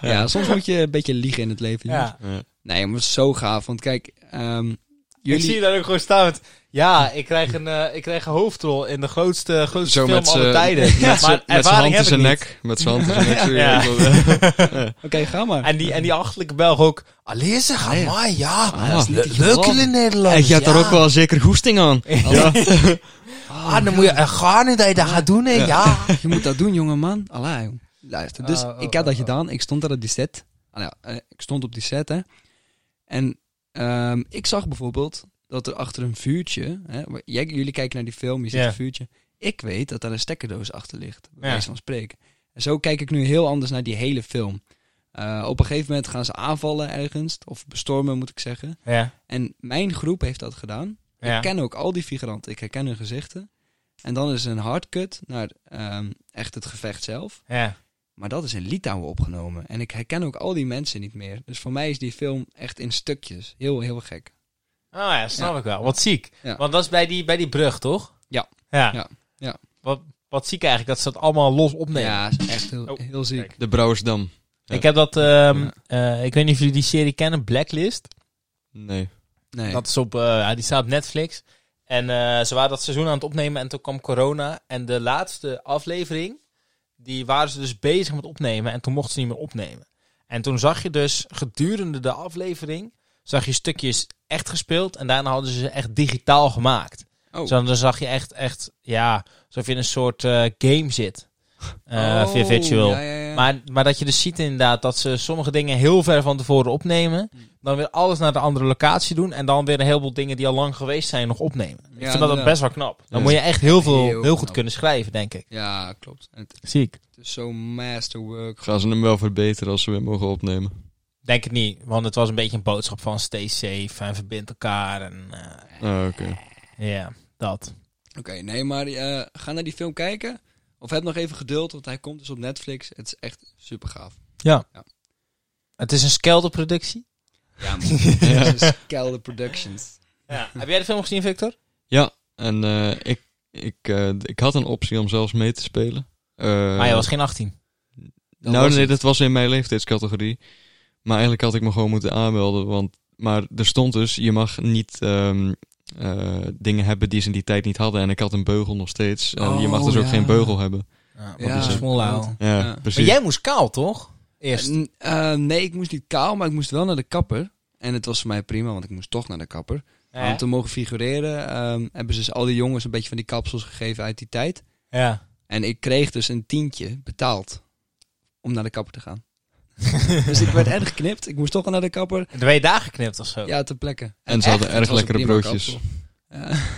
B: ja, soms moet je een beetje liegen in het leven. jongens.
A: Ja.
C: Ja.
B: Nee, maar het was zo gaaf. Want kijk, ehm,
A: Ik
B: jullie...
A: zie je daar ook gewoon staan met... Ja, ik krijg een, eh, ik krijg een hoofdrol in de grootste, grootste
C: Zo
A: film
C: met
A: aller
C: z'n-
A: tijden.
C: Met
A: maar
C: z'n- met zijn hand
A: ervaring
C: in
A: heb ik
C: zijn
A: niet.
C: nek. Met zijn hand in zijn nek. zo,
A: Ja.
C: ja, ik wil-
B: Oké, ga maar.
A: En die, en die achterlijke Belg ook. Allee zeg, amai, ja.
B: Ah, dat is niet
A: Le-
B: te
A: leuk
B: geloven.
A: in Nederland.
C: Hij gaat
A: ja.
C: er ook wel zeker goesting aan.
A: Ah, dan moet je er gaan in dat je dat gaat doen, hè. Ja.
B: Je moet dat doen, jongeman. Allee, jong. Luister, dus
A: Oh, oh,
B: ik had dat
A: oh, oh.
B: gedaan. Ik stond daar op die set. Ah, nou, eh, ik stond op die set, hè. En ehm, ik zag bijvoorbeeld dat er achter een vuurtje... Hè, waar- jij, jullie kijken naar die film, je ziet
A: Ja.
B: een vuurtje. Ik weet dat daar een stekkerdoos achter ligt. Bij
A: Ja.
B: wijze van spreken. En zo kijk ik nu heel anders naar die hele film. Eh, op een gegeven moment gaan ze aanvallen ergens, of bestormen moet ik zeggen.
A: Ja.
B: En mijn groep heeft dat gedaan.
A: Ja.
B: Ik ken ook al die figuranten, ik herken hun gezichten. En dan is er een hardcut naar ehm, echt het gevecht zelf.
A: Ja.
B: Maar dat is in Litouwen opgenomen. En ik herken ook al die mensen niet meer. Dus voor mij is die film echt in stukjes. Heel, heel gek.
A: Oh ja, snap
B: Ja.
A: ik wel. Wat ziek.
B: Ja.
A: Want dat is bij die, bij die brug, toch?
B: Ja.
A: Ja.
B: Ja. Ja.
A: Wat, wat ziek eigenlijk, dat ze dat allemaal los opnemen.
B: Ja, is echt heel,
A: Oh,
B: heel ziek.
A: kijk.
C: De Brouwersdam. Ja.
A: Ik heb dat, ehm, eh, ik weet niet of jullie die serie kennen, Blacklist.
C: Nee.
B: Nee.
A: Dat is op, eh, ja, die staat op Netflix. En eh, ze waren dat seizoen aan het opnemen en toen kwam corona. En de laatste aflevering, die waren ze dus bezig met opnemen en toen mochten ze niet meer opnemen. En toen zag je dus gedurende de aflevering, zag je stukjes echt gespeeld en daarna hadden ze ze echt digitaal gemaakt.
B: Oh.
A: Zo, dan zag je echt, echt, ja, alsof je in een soort eh, game zit. Eh via virtual.
B: Oh, Ja, ja, ja.
A: Maar, maar dat je dus ziet inderdaad dat ze sommige dingen heel ver van tevoren opnemen. Dan weer alles naar de andere locatie doen. En dan weer een heleboel dingen die al lang geweest zijn nog opnemen. ik vind dat
B: inderdaad.
A: best wel knap. Dan
C: Ja.
A: moet je echt heel, veel,
B: Heel
A: heel, goed
B: knap.
A: kunnen schrijven, denk ik.
B: ja klopt. En het,
A: Ziek.
B: het is zo masterwork.
C: Gaan ze hem wel verbeteren als ze weer mogen opnemen?
A: Denk het niet, want het was een beetje een boodschap van stay safe en verbind elkaar. En eh,
C: Ah, oké.
A: ja, dat.
B: Oké, nee, maar eh, ga naar die film kijken. Of heb nog even geduld, want hij komt dus op Netflix. Het is echt super gaaf.
A: Het is een skelderproductie.
B: Ja, man. Het is Kelder Productions.
A: Ja. Heb jij de film gezien, Victor?
C: En eh, ik, ik, eh, ik had een optie om zelfs mee te spelen. Eh,
A: maar jij Ah, was geen 18.
B: Dan
C: nou,
B: was
C: nee,
B: het.
C: dat was in mijn leeftijdscategorie. Maar eigenlijk had ik me gewoon moeten aanmelden. Want, maar er stond dus, je mag niet ehm, eh, dingen hebben die ze in die tijd niet hadden. En ik had een beugel nog steeds. En je mag
B: Oh,
C: dus ook
B: ja.
C: geen beugel hebben.
A: Ja,
B: Ja,
A: ja,
B: klopt.
C: Ja,
B: Ja.
A: Maar
C: precies.
A: jij moest kaal, toch? Eerst.
B: N- eh, nee, ik moest niet kaal, maar ik moest wel naar de kapper. En het was voor mij prima, want ik moest toch naar de kapper.
A: Ja.
B: Om te mogen figureren ehm, hebben ze dus al die jongens een beetje van die kapsels gegeven uit die tijd.
A: Ja.
B: En ik kreeg dus een tientje betaald om naar de kapper te gaan. dus ik werd erg geknipt. Ik moest toch wel naar de kapper.
A: En Dan ben je daar geknipt of zo.
B: Ja, te plekken.
C: En ze hadden
B: echt, het
C: erg
B: was een
C: lekkere
B: prima
C: broodjes.
B: kapsel.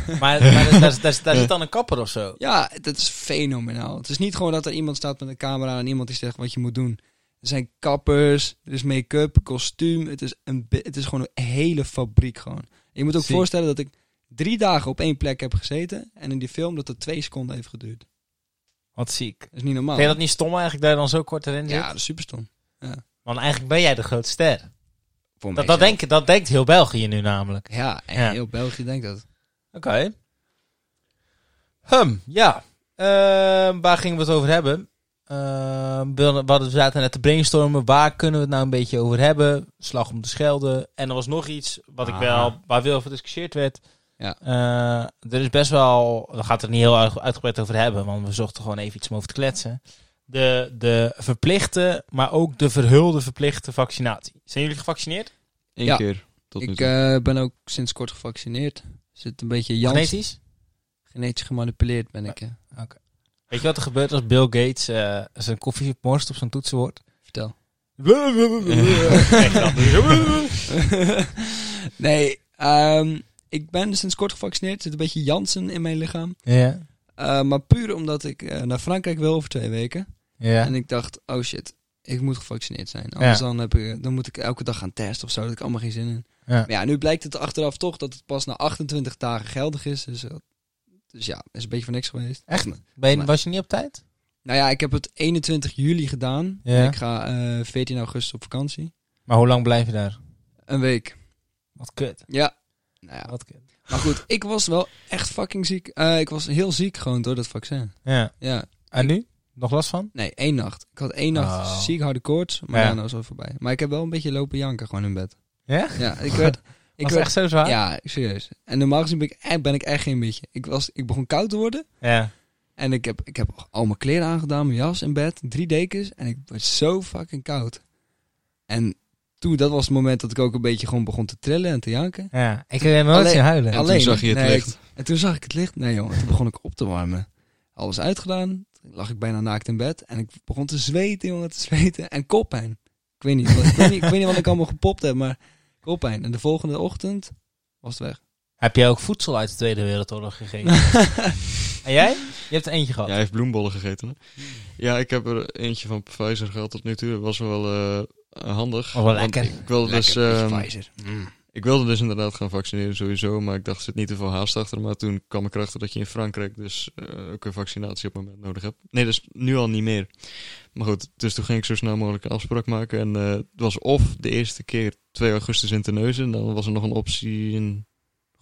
B: Ja.
A: Maar, maar daar, daar, daar zit dan een kapper of zo.
B: Ja, dat is fenomenaal. Het is niet gewoon dat er iemand staat met een camera en iemand die zegt wat je moet doen. Er zijn kappers, er is make-up, kostuum. Het is, een, be- het is gewoon een hele fabriek gewoon. Je moet ook
A: Zie.
B: voorstellen dat ik drie dagen op één plek heb gezeten. En in die film dat het twee seconden heeft geduurd.
A: Wat ziek.
B: Dat is niet normaal.
A: Vind je dat niet stom eigenlijk, daar dan zo kort erin zit?
B: Oh. ja, dat is super stom.
A: Want eigenlijk ben jij de grote ster.
B: Voor
A: Dat, dat,
B: mijzelf.
A: denken, dat denkt heel België nu namelijk.
B: Ja, en
A: Ja.
B: heel België denkt dat.
A: Oké. Hum, ja. Ehm, waar gingen we het over hebben? Ehm, we, hadden- we hadden- we zaten net te brainstormen. Waar kunnen we het nou een beetje over hebben? Slag om de Schelde. En er was nog iets wat ik
B: Ah.
A: wel, waar veel over gediscussieerd werd.
B: Ja.
A: Eh, er is best wel... We gaan het er niet heel erg uitgebreid over hebben. Want we zochten gewoon even iets om over te kletsen. De, de verplichte, maar ook de verhulde verplichte vaccinatie. Zijn jullie gevaccineerd?
C: Eén
B: Ja.
C: keer tot nu
B: ik
C: toe.
B: eh, ben ook sinds kort gevaccineerd. Zit een beetje Jans,
A: Genetisch?
B: genetisch gemanipuleerd ben ik. hè.
A: Weet je wat er gebeurt als Bill Gates eh, zijn koffie morst op zijn toetsenbord?
B: Vertel.
A: Echt dat.
B: nee, ehm, ik ben sinds kort gevaccineerd. Er zit een beetje Jansen in mijn lichaam.
A: ja,
B: Eh, maar puur omdat ik eh, naar Frankrijk wil over twee weken.
A: ja.
B: En ik dacht, oh shit, ik moet gevaccineerd zijn. Anders dan, heb ik, dan moet ik elke dag gaan testen of zo. Daar heb ik allemaal geen zin in.
A: Ja.
B: Maar ja, nu blijkt het achteraf toch dat het pas na 28 dagen geldig is. Dus, eh, dus ja, is een beetje voor niks geweest.
A: Echt? Ben je,
B: Maar-
A: was je niet op tijd?
B: Nou ja, ik heb het 21 juli gedaan.
A: Ja.
B: En ik ga eh, 14 augustus op vakantie.
A: Maar hoe lang blijf je daar?
B: Een week.
A: Wat kut.
B: Ja. Nou ja,
A: Wat kut.
B: Maar goed, ik was wel echt fucking ziek. Eh, ik was heel ziek gewoon door dat vaccin.
A: Ja.
B: Ja,
A: En nu? Nog last van?
B: nee, één nacht. Ik had één nacht
A: Oh.
B: ziek harde koorts, maar
A: Ja.
B: daarna was het voorbij. Maar ik heb wel een beetje lopen janken gewoon in bed.
A: Ja?
B: Ja, ik werd... Ik
A: was
B: werd
A: echt zo zwaar?
B: ja, serieus. En normaal gezien ben ik, echt- ben ik echt geen beetje. Ik, was, ik begon koud te worden
A: Ja.
B: en ik heb, ik heb al mijn kleren aangedaan, mijn jas in bed, drie dekens en ik werd zo fucking koud. En toen, dat was het moment dat ik ook een beetje gewoon begon te trillen en te janken.
A: Ja. Ik heb nooit
B: Alleen-
A: zien huilen.
C: toen zag je het
B: nee,
C: licht.
B: ik- en toen zag ik het licht. Nee jongen, toen begon ik op te warmen. Alles uitgedaan. Toen lag ik bijna naakt in bed. En ik begon te zweten jongen, te zweten. En koppijn. Ik weet niet, wat, ik, weet niet ik weet niet wat ik allemaal gepopt heb, maar koppijn. En de volgende ochtend was het weg.
A: Heb jij ook voedsel uit de Tweede Wereldoorlog gegeten? en jij? Je hebt er eentje gehad.
C: Ja, hij heeft bloembollen gegeten. Hè? Ja, ik heb er eentje van Pfizer gehad tot nu toe. Dat was wel eh, eh, handig.
A: Oh, wel
C: want
A: lekker.
C: Ik wilde,
B: Lekker,
C: dus,
B: beetje
C: ehm,
B: Pfizer. Mm.
C: ik wilde dus inderdaad gaan vaccineren sowieso, maar ik dacht, er zit niet te veel haast achter. Maar toen kwam ik erachter dat je in Frankrijk dus eh, ook een vaccinatie op het moment nodig hebt. Nee, dat is nu al niet meer. Maar goed, dus toen ging ik zo snel mogelijk een afspraak maken. En eh, het was of de eerste keer 2 augustus in Terneuzen, en dan was er nog een optie in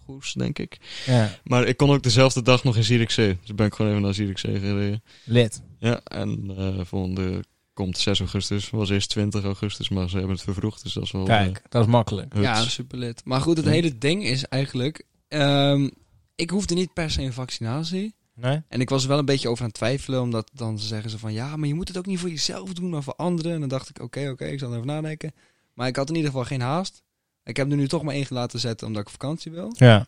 C: Goes, denk ik.
A: Ja,
C: Maar ik kon ook dezelfde dag nog in Zierikzee. Dus ben ik gewoon even naar Zierikzee gereden.
A: lid.
C: Ja, en eh volgende komt 6 augustus. Was eerst 20 augustus, maar ze hebben het vervroegd. Dus dat is wel...
A: Kijk, dat is makkelijk.
C: eh,
B: Ja,
C: huts.
B: superlid. Maar goed, het
C: Ja.
B: hele ding is eigenlijk... ehm, ik hoefde niet per se een vaccinatie.
A: Nee?
B: En ik was er wel een beetje over aan het twijfelen. Omdat dan zeggen ze van... Ja, maar je moet het ook niet voor jezelf doen, maar voor anderen. En dan dacht ik, oké, oké, ik zal erover nadenken. Maar ik had in ieder geval geen haast. Ik heb er nu toch maar één laten zetten omdat ik op vakantie wil.
A: Ja.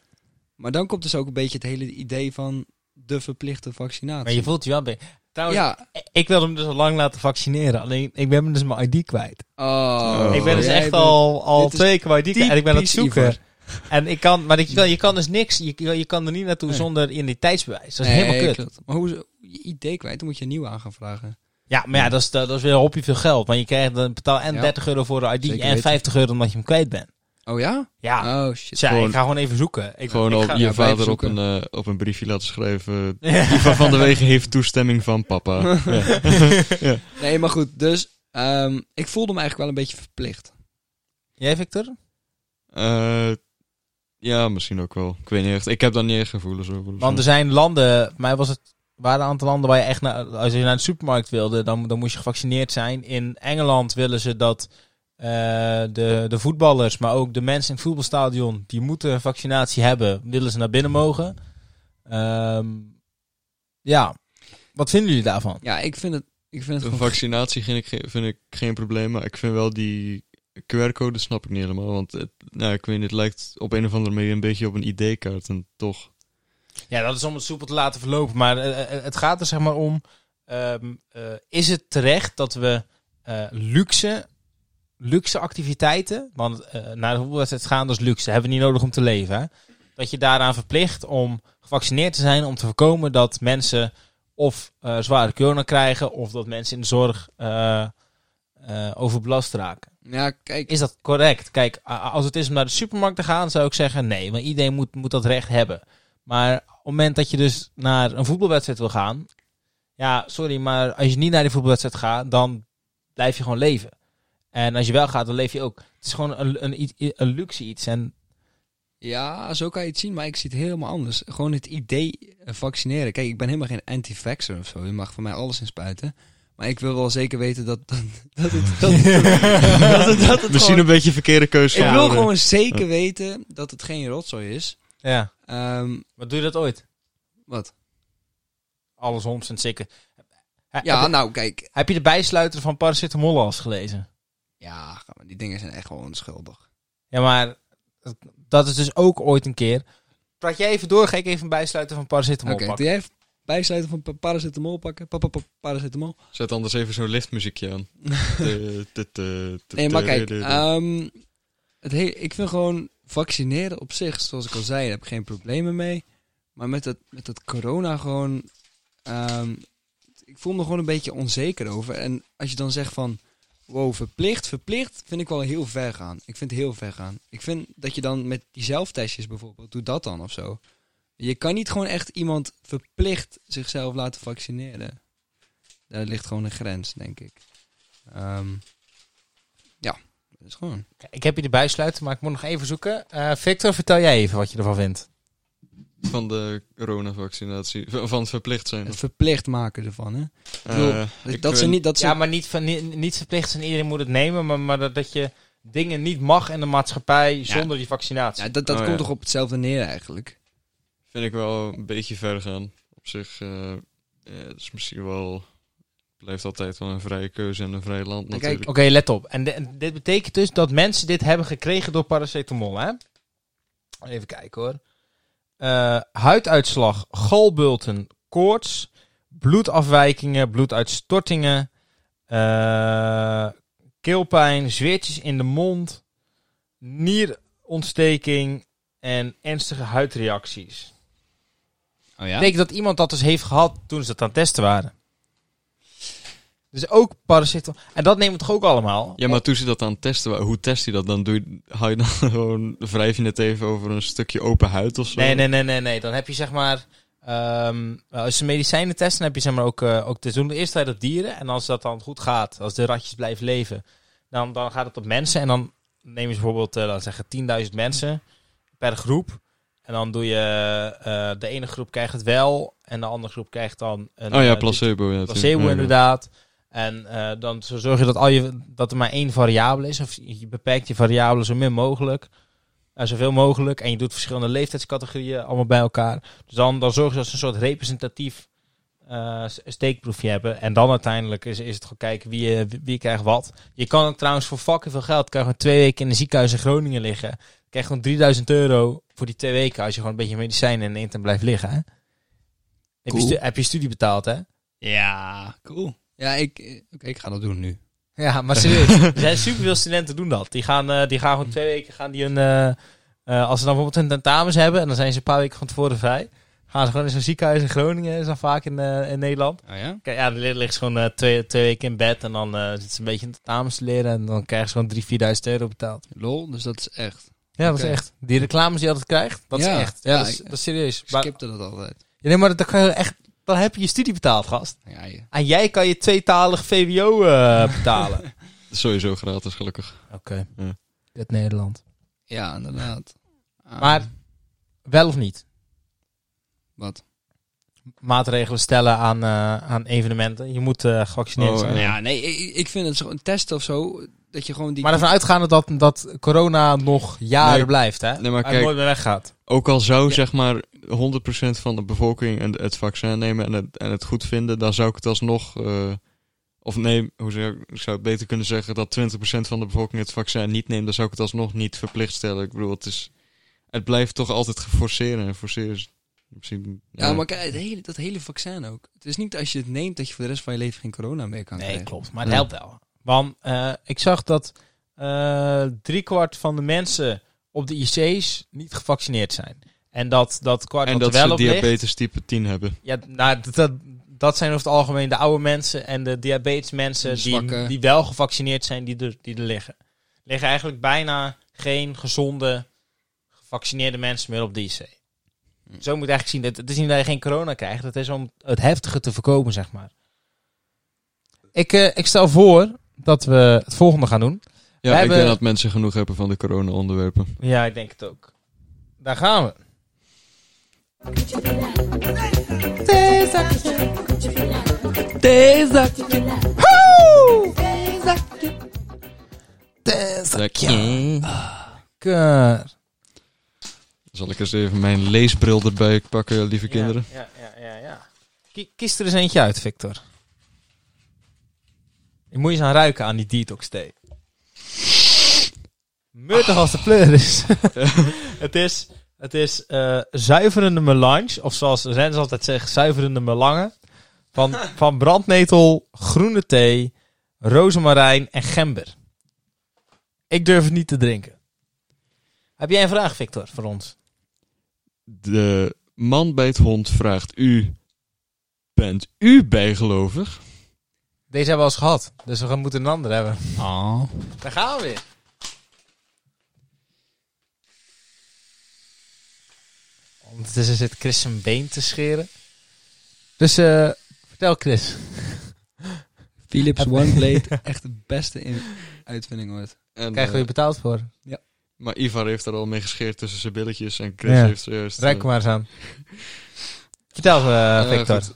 B: Maar dan komt dus ook een beetje het hele idee van de verplichte vaccinatie.
A: Maar je voelt nou- je wel bij. Trouwens,
B: ja.
A: ik wilde hem dus al lang laten vaccineren. Alleen, ik ben hem dus mijn ID kwijt.
B: Oh,
A: ik ben dus
B: jij
A: echt
B: bent-
A: al, al
B: dit is
A: twee keer mijn ID kwijt. En ik ben aan het
B: typisch
A: zoeken.
B: Ivar.
A: En ik kan, maar ik, je kan- je kan dus niks. Je, je kan er niet naartoe
B: Nee.
A: zonder identiteitsbewijs. Dat is
B: Nee,
A: helemaal kut.
B: klopt. Maar hoe is je idee kwijt? Dan moet je een nieuwe aan gaan vragen.
A: Ja, maar ja, dat is, dat is weer een hoppie veel geld. Want je krijgt dan betaal en
B: Ja.
A: 30 euro voor de ID
B: Zeker
A: en
B: weten.
A: 50 euro omdat je hem kwijt bent.
B: Oh ja?
A: Ja,
B: Oh shit.
A: Dus ja,
C: Gewoon-
A: ik ga gewoon even zoeken. Ik,
C: Gewoon
A: ik
C: op
A: ga-
C: je
B: ja,
C: vader op
B: bijbezoeken.
C: een, eh, op een briefje laten schrijven. Ivan van der Wegen heeft toestemming van papa. ja. ja.
B: Nee, maar goed. Dus ehm, ik voelde me eigenlijk wel een beetje verplicht.
A: Jij, Victor?
C: Eh, ja, misschien ook wel. Ik weet niet echt. Ik heb daar niet echt gevoelens over. of
A: Want er
C: zo.
A: zijn landen, voor mij was het, waren een aantal landen waar je echt naar, als je naar de supermarkt wilde, dan, dan moest je gevaccineerd zijn. In Engeland willen ze dat eh, de, de voetballers, maar ook de mensen in het voetbalstadion, die moeten een vaccinatie hebben, willen ze naar binnen mogen. Ehm, ja, wat vinden jullie daarvan?
B: Ja, ik vind het, ik vind het
C: Een
B: gewoon...
C: vaccinatie vind ik, ge- vind ik geen probleem, maar ik vind wel die QR-code snap ik niet helemaal. Want het, nou, ik weet niet, het lijkt op een of andere manier een beetje op een ID-kaart en toch.
A: Ja, dat is om het soepel te laten verlopen. Maar eh, eh, het gaat er zeg maar om... ehm, eh, is het terecht dat we eh, luxe, luxe activiteiten... Want eh, naar de voetbalwedstrijd gaan, dat is luxe. Hebben we niet nodig om te leven, hè? Dat je daaraan verplicht om gevaccineerd te zijn... om te voorkomen dat mensen of eh, zware corona krijgen... of dat mensen in de zorg eh, eh, overbelast raken.
B: Ja, kijk.
A: Is dat correct? Kijk, a- als het is om naar de supermarkt te gaan, zou ik zeggen nee. Want iedereen moet, moet dat recht hebben. Maar op het moment dat je dus naar een voetbalwedstrijd wil gaan... Ja, sorry, maar als je niet naar die voetbalwedstrijd gaat, dan blijf je gewoon leven. En als je wel gaat, dan leef je ook. Het is gewoon een, een, iets- een luxe iets. En
B: Ja, zo kan je het zien, maar ik zie het helemaal anders. Gewoon het idee eh, vaccineren. Kijk, ik ben helemaal geen anti-vaxxer of zo. Je mag van mij alles inspuiten. Maar ik wil wel zeker weten dat, dat, dat het... Dat, dat het- dat het
C: Misschien
B: gewoon-
C: een beetje een verkeerde keuze
B: Ik
C: van
B: wil
C: ouderen.
B: gewoon zeker weten dat het geen rotzooi is.
A: ja,
B: Ehm,
A: wat doe je dat ooit?
B: wat?
A: Alles homs en zeker.
B: Ja,
A: heb, je,
B: nou kijk.
A: heb je de bijsluiter van paracetamol al eens gelezen?
B: Ja, ga maar, die dingen zijn echt wel onschuldig.
A: Ja, maar dat is dus ook ooit een keer. Praat jij even door, ga ik even een bijsluiter van paracetamol
B: Oké,
A: pakken.
B: doe jij even bijsluiten van pa- paracetamol pakken? Pa- pa- pa- paracetamol.
C: Zet anders even zo'n liftmuziekje aan. De- de- de- de-
B: Nee, maar
C: de-
B: kijk.
C: de- de-
B: ehm, het hele, ik vind gewoon vaccineren op zich, zoals ik al zei, daar heb ik geen problemen mee. Maar met dat, met dat corona gewoon... ehm, ik voel me gewoon een beetje onzeker over. En als je dan zegt van... Wow, verplicht, verplicht vind ik wel heel ver gaan. Ik vind het heel ver gaan. Ik vind dat je dan met die zelftestjes bijvoorbeeld, doe dat dan of zo. Je kan niet gewoon echt iemand verplicht zichzelf laten vaccineren. Daar ligt gewoon een grens, denk ik. Ehm, ja, dat is gewoon.
A: Ik heb hier de bijsluiter, maar ik moet nog even zoeken. Eh, Victor, vertel jij even wat je ervan vindt.
C: Van de coronavaccinatie. Van van het verplicht zijn.
B: Het verplicht maken ervan, hè? bedoel,
C: Eh,
B: Dat,
C: ik
B: Dus dat ze
C: weet-
B: niet, dat ze,
A: Ja, maar niet, van, niet, niet verplicht en iedereen moet het nemen, maar, maar dat, dat je dingen niet mag in de maatschappij zonder die vaccinatie.
B: Ja, dat, dat
C: Oh,
B: komt
C: ja.
B: toch op hetzelfde neer eigenlijk.
C: Vind ik wel een beetje ver gaan. Op zich eh, ja, het is misschien wel... Blijft altijd wel een vrije keuze en een vrij land
B: kijk,
C: natuurlijk.
A: Oké, let op. En, di- en dit betekent dus dat mensen dit hebben gekregen door paracetamol, hè? Even kijken hoor. Eh, huiduitslag, galbulten, koorts, bloedafwijkingen, bloeduitstortingen, eh, keelpijn, zweertjes in de mond, nierontsteking en ernstige huidreacties.
B: Oh ja?
A: Betekent dat iemand dat dus heeft gehad toen ze dat aan het testen waren? Dus ook paracetamol. En dat nemen we toch ook allemaal?
C: Ja, maar toen ze dat aan het testen waren, hoe test je dat dan? Doe je, hou je dan gewoon, wrijf je het even over een stukje open huid of zo?
A: Nee, nee, nee, nee, nee. Dan heb je zeg maar. ehm, nou, als ze medicijnen testen, dan heb je zeg maar ook, eh, ook. Ze doen de eerste tijd op dieren. En als dat dan goed gaat, als de ratjes blijven leven, dan, dan gaat het op mensen. En dan nemen ze bijvoorbeeld, eh laten we zeggen, 10.000 mensen per groep. En dan doe je. eh, de ene groep krijgt het wel, en de andere groep krijgt dan. Een,
C: Oh ja,
A: eh,
C: placebo. Ja,
A: placebo
C: natuurlijk. Ja, ja.
A: inderdaad. En eh, dan zo zorg je dat, al je dat er maar één variabele is. Of je beperkt je variabelen zo min mogelijk. en zoveel mogelijk. En je doet verschillende leeftijdscategorieën allemaal bij elkaar. Dus dan, dan zorg je dat ze een soort representatief eh, s- steekproefje hebben. En dan uiteindelijk is, is het gewoon kijken wie, eh, wie, wie krijgt wat. Je kan ook trouwens voor fucking veel geld... kan je gewoon twee weken in een ziekenhuis in Groningen liggen. Dan krijg je gewoon 3000 euro voor die twee weken... als je gewoon een beetje medicijnen neemt en blijft liggen. Hè? Heb, je
B: Cool.
A: stu- heb je studie betaald, hè?
B: Ja, Ah, cool. Ja, ik, eh, oké, ik ga dat doen nu.
A: Ja, maar serieus. er zijn superveel studenten doen dat. Die gaan, eh, die gaan gewoon twee weken, gaan die een, eh, eh, als ze dan bijvoorbeeld hun tentamens hebben, en dan zijn ze een paar weken van tevoren vrij, gaan ze gewoon in zo'n ziekenhuis in Groningen, is dan vaak in, eh, in Nederland.
B: Ah ja?
A: Kijk, ja, dan li- liggen ze gewoon eh, twee, twee weken in bed en dan eh zitten ze een beetje hun tentamens te leren en dan krijgen ze gewoon 3.000, 4.000 euro betaald.
B: Lol, dus dat is echt.
A: Ja, dat
B: Oké.
A: is echt. Die reclames die je altijd krijgt, dat
B: Ja,
A: is echt.
B: ja,
A: Ja, dat, is,
B: ik-
A: dat is serieus.
B: Ik
A: Maar,
B: skipte dat altijd.
A: Ja, nee, maar dat kan je echt, dan heb je je studie betaald, gast.
B: Ja, ja.
A: En jij kan je tweetalig VWO eh, betalen. Oké.
C: Sowieso gratis, gelukkig. Ja.
A: Het Nederland.
B: ja inderdaad. Ah,
A: Maar- Wel of niet?
B: Wat?
A: Maatregelen stellen aan, eh, aan evenementen. Je moet eh, gevaccineerd
C: Oh,
A: zijn.
B: Nou ja, nee, ik, ik vind het zo, een test of zo, dat je gewoon die...
A: Maar ervan uitgaande dat, dat corona nog jaren
C: Nee.
A: blijft, hè?
C: Nee, maar
A: en
C: kijk-
A: nooit meer weggaat.
C: Ook al zou
B: Ja.
C: zeg maar 100% van de bevolking een- het vaccin nemen en het, en het goed vinden, dan zou ik het alsnog. eh, of nee, hoe zou ik, ik zou het beter kunnen zeggen dat 20% van de bevolking het vaccin niet neemt, dan zou ik het alsnog niet verplicht stellen. Ik bedoel, het, is, het blijft toch altijd geforceren. En forceren is misschien.
B: ja, maar kijk, het hele, dat hele vaccin ook. Het is niet als je het neemt dat je voor de rest van je leven geen corona meer
C: Ah,
B: kan
A: Nee,
B: krijgen.
A: klopt. Maar het
C: Ja.
A: helpt wel. Want eh, ik zag dat eh driekwart van de mensen op de IC's niet gevaccineerd zijn. En dat, dat kwart
C: en
A: wat er
C: dat
A: wel
C: ze
A: op ligt-
C: diabetes type 10 hebben.
A: Ja, nou, dat, dat, dat zijn over het algemeen de oude mensen en de diabetesmensen
B: De
A: die,
B: zwakke.
A: die wel gevaccineerd zijn, die er, die er liggen. Er liggen eigenlijk bijna geen gezonde, gevaccineerde mensen meer op de IC. Zo moet je eigenlijk zien, dat, het is niet dat je geen corona krijgt, het is om het heftige te voorkomen, zeg maar. Ik, eh, ik stel voor dat we het volgende gaan doen.
C: Ja,
A: We
C: ik
A: hebben-
C: denk dat mensen genoeg hebben van de corona-onderwerpen.
A: Ja, ik denk het ook. Daar gaan we. Hoew! Lekker.
C: Zal ik eens even mijn leesbril erbij pakken, lieve kinderen?
A: Ja, ja, ja, ja. Ki- Kies er eens eentje uit, Victor. Je moet eens aan ruiken aan die detox thee. Murtig als de pleuris. het is, het is eh, zuiverende melange, of zoals Rens altijd zegt, zuiverende melange. Van, van brandnetel, groene thee, rozemarijn en gember. Ik durf het niet te drinken. Heb jij een vraag, Victor, voor ons?
C: De man bij het hond vraagt u... Bent u bijgelovig?
A: Deze hebben we al eens gehad, dus we gaan- moeten een ander hebben.
B: Ah.
A: Daar gaan we weer. Ondertussen zit Chris zijn been te scheren. Dus eh, vertel Chris.
B: Philips OneBlade, echt de beste in uitvinding ooit.
C: En,
A: Krijgen we
C: eh,
A: je betaald voor?
C: maar Ivar heeft er al mee gescheerd tussen zijn billetjes en Chris
A: Ja.
C: heeft zojuist... eh,
A: Rijk hem maar eens aan. Vertel eh
C: eh,
A: Victor.
C: goed.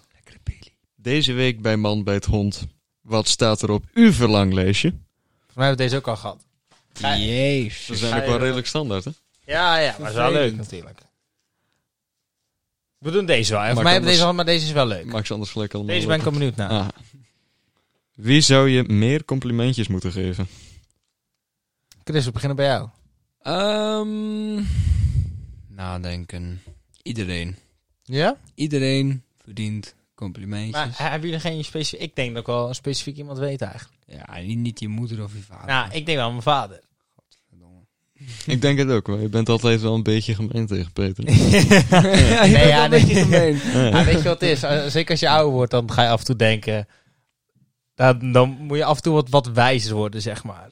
C: Deze week bij man bij het hond. Wat staat er op uw verlanglijstje?
A: Voor mij hebben we deze ook al gehad. Ga je-
C: Ze
B: Jezus.
C: zijn
A: Ga
C: ook wel
A: je-
C: redelijk standaard, hè?
A: Ja, ja, maar dat is wel leuk natuurlijk. We doen deze wel. hè. Voor
C: Maar
A: mij hebben we
C: anders-
A: deze al, maar deze is wel leuk.
C: Maak ze anders gelijk allemaal
A: Deze ben ik
C: op.
A: wel benieuwd naar.
C: Ah. Wie zou je meer complimentjes moeten geven?
A: Chris, we beginnen bij jou.
B: Ehm, nadenken. Iedereen.
A: Ja?
B: Iedereen verdient complimentjes.
A: Maar eh, hebben jullie geen specifiek... Ik denk dat ik wel een specifiek iemand weet eigenlijk.
B: Ja, niet, niet je moeder of je vader.
A: Nou, ik denk wel mijn vader.
B: Godverdomme.
C: Ik denk het ook wel. Je bent altijd wel een beetje gemeen tegen Peter.
B: ja, je
A: Nee,
B: bent
A: ja, nee.
B: wel een beetje gemeen.
A: Ja, weet je wat het is? Eh, Zeker als je ouder wordt, dan ga je af en toe denken... Dan, dan moet je af en toe wat, wat wijzer worden, zeg maar.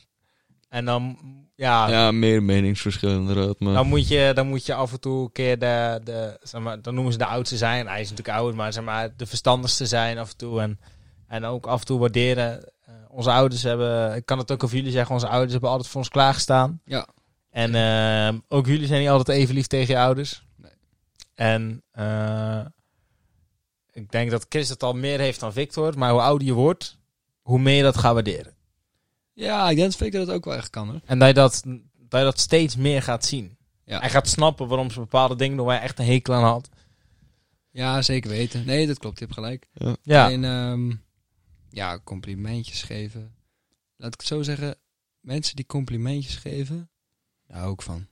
A: En dan, ja,
C: Ja, meer meningsverschillen inderdaad. Maar
A: Dan, moet je, dan moet je af en toe een keer de, de zeg maar, dan noemen ze de oudste zijn. Hij is natuurlijk ouder, maar zeg maar, de verstandigste zijn af en toe. En, en ook af en toe waarderen. Eh, onze ouders hebben, ik kan het ook over jullie zeggen, onze ouders hebben altijd voor ons klaargestaan.
B: Ja.
A: En ehm, ook jullie zijn niet altijd even lief tegen je ouders.
B: Nee.
A: En eh, ik denk dat Chris het al meer heeft dan Victor. Maar hoe ouder je wordt, hoe meer je dat gaat waarderen.
B: Ja, ik denk dat Victor dat ook wel echt kan hoor.
A: En dat je dat, dat, je dat steeds meer gaat zien.
B: Ja.
A: Hij gaat snappen waarom ze bepaalde dingen doen waar hij echt een hekel aan had.
B: Ja, zeker weten. Nee, dat klopt. Je hebt gelijk.
A: Ja,
B: En ehm, ja, complimentjes geven. Laat ik het zo zeggen. Mensen die complimentjes geven, daar hou ik van.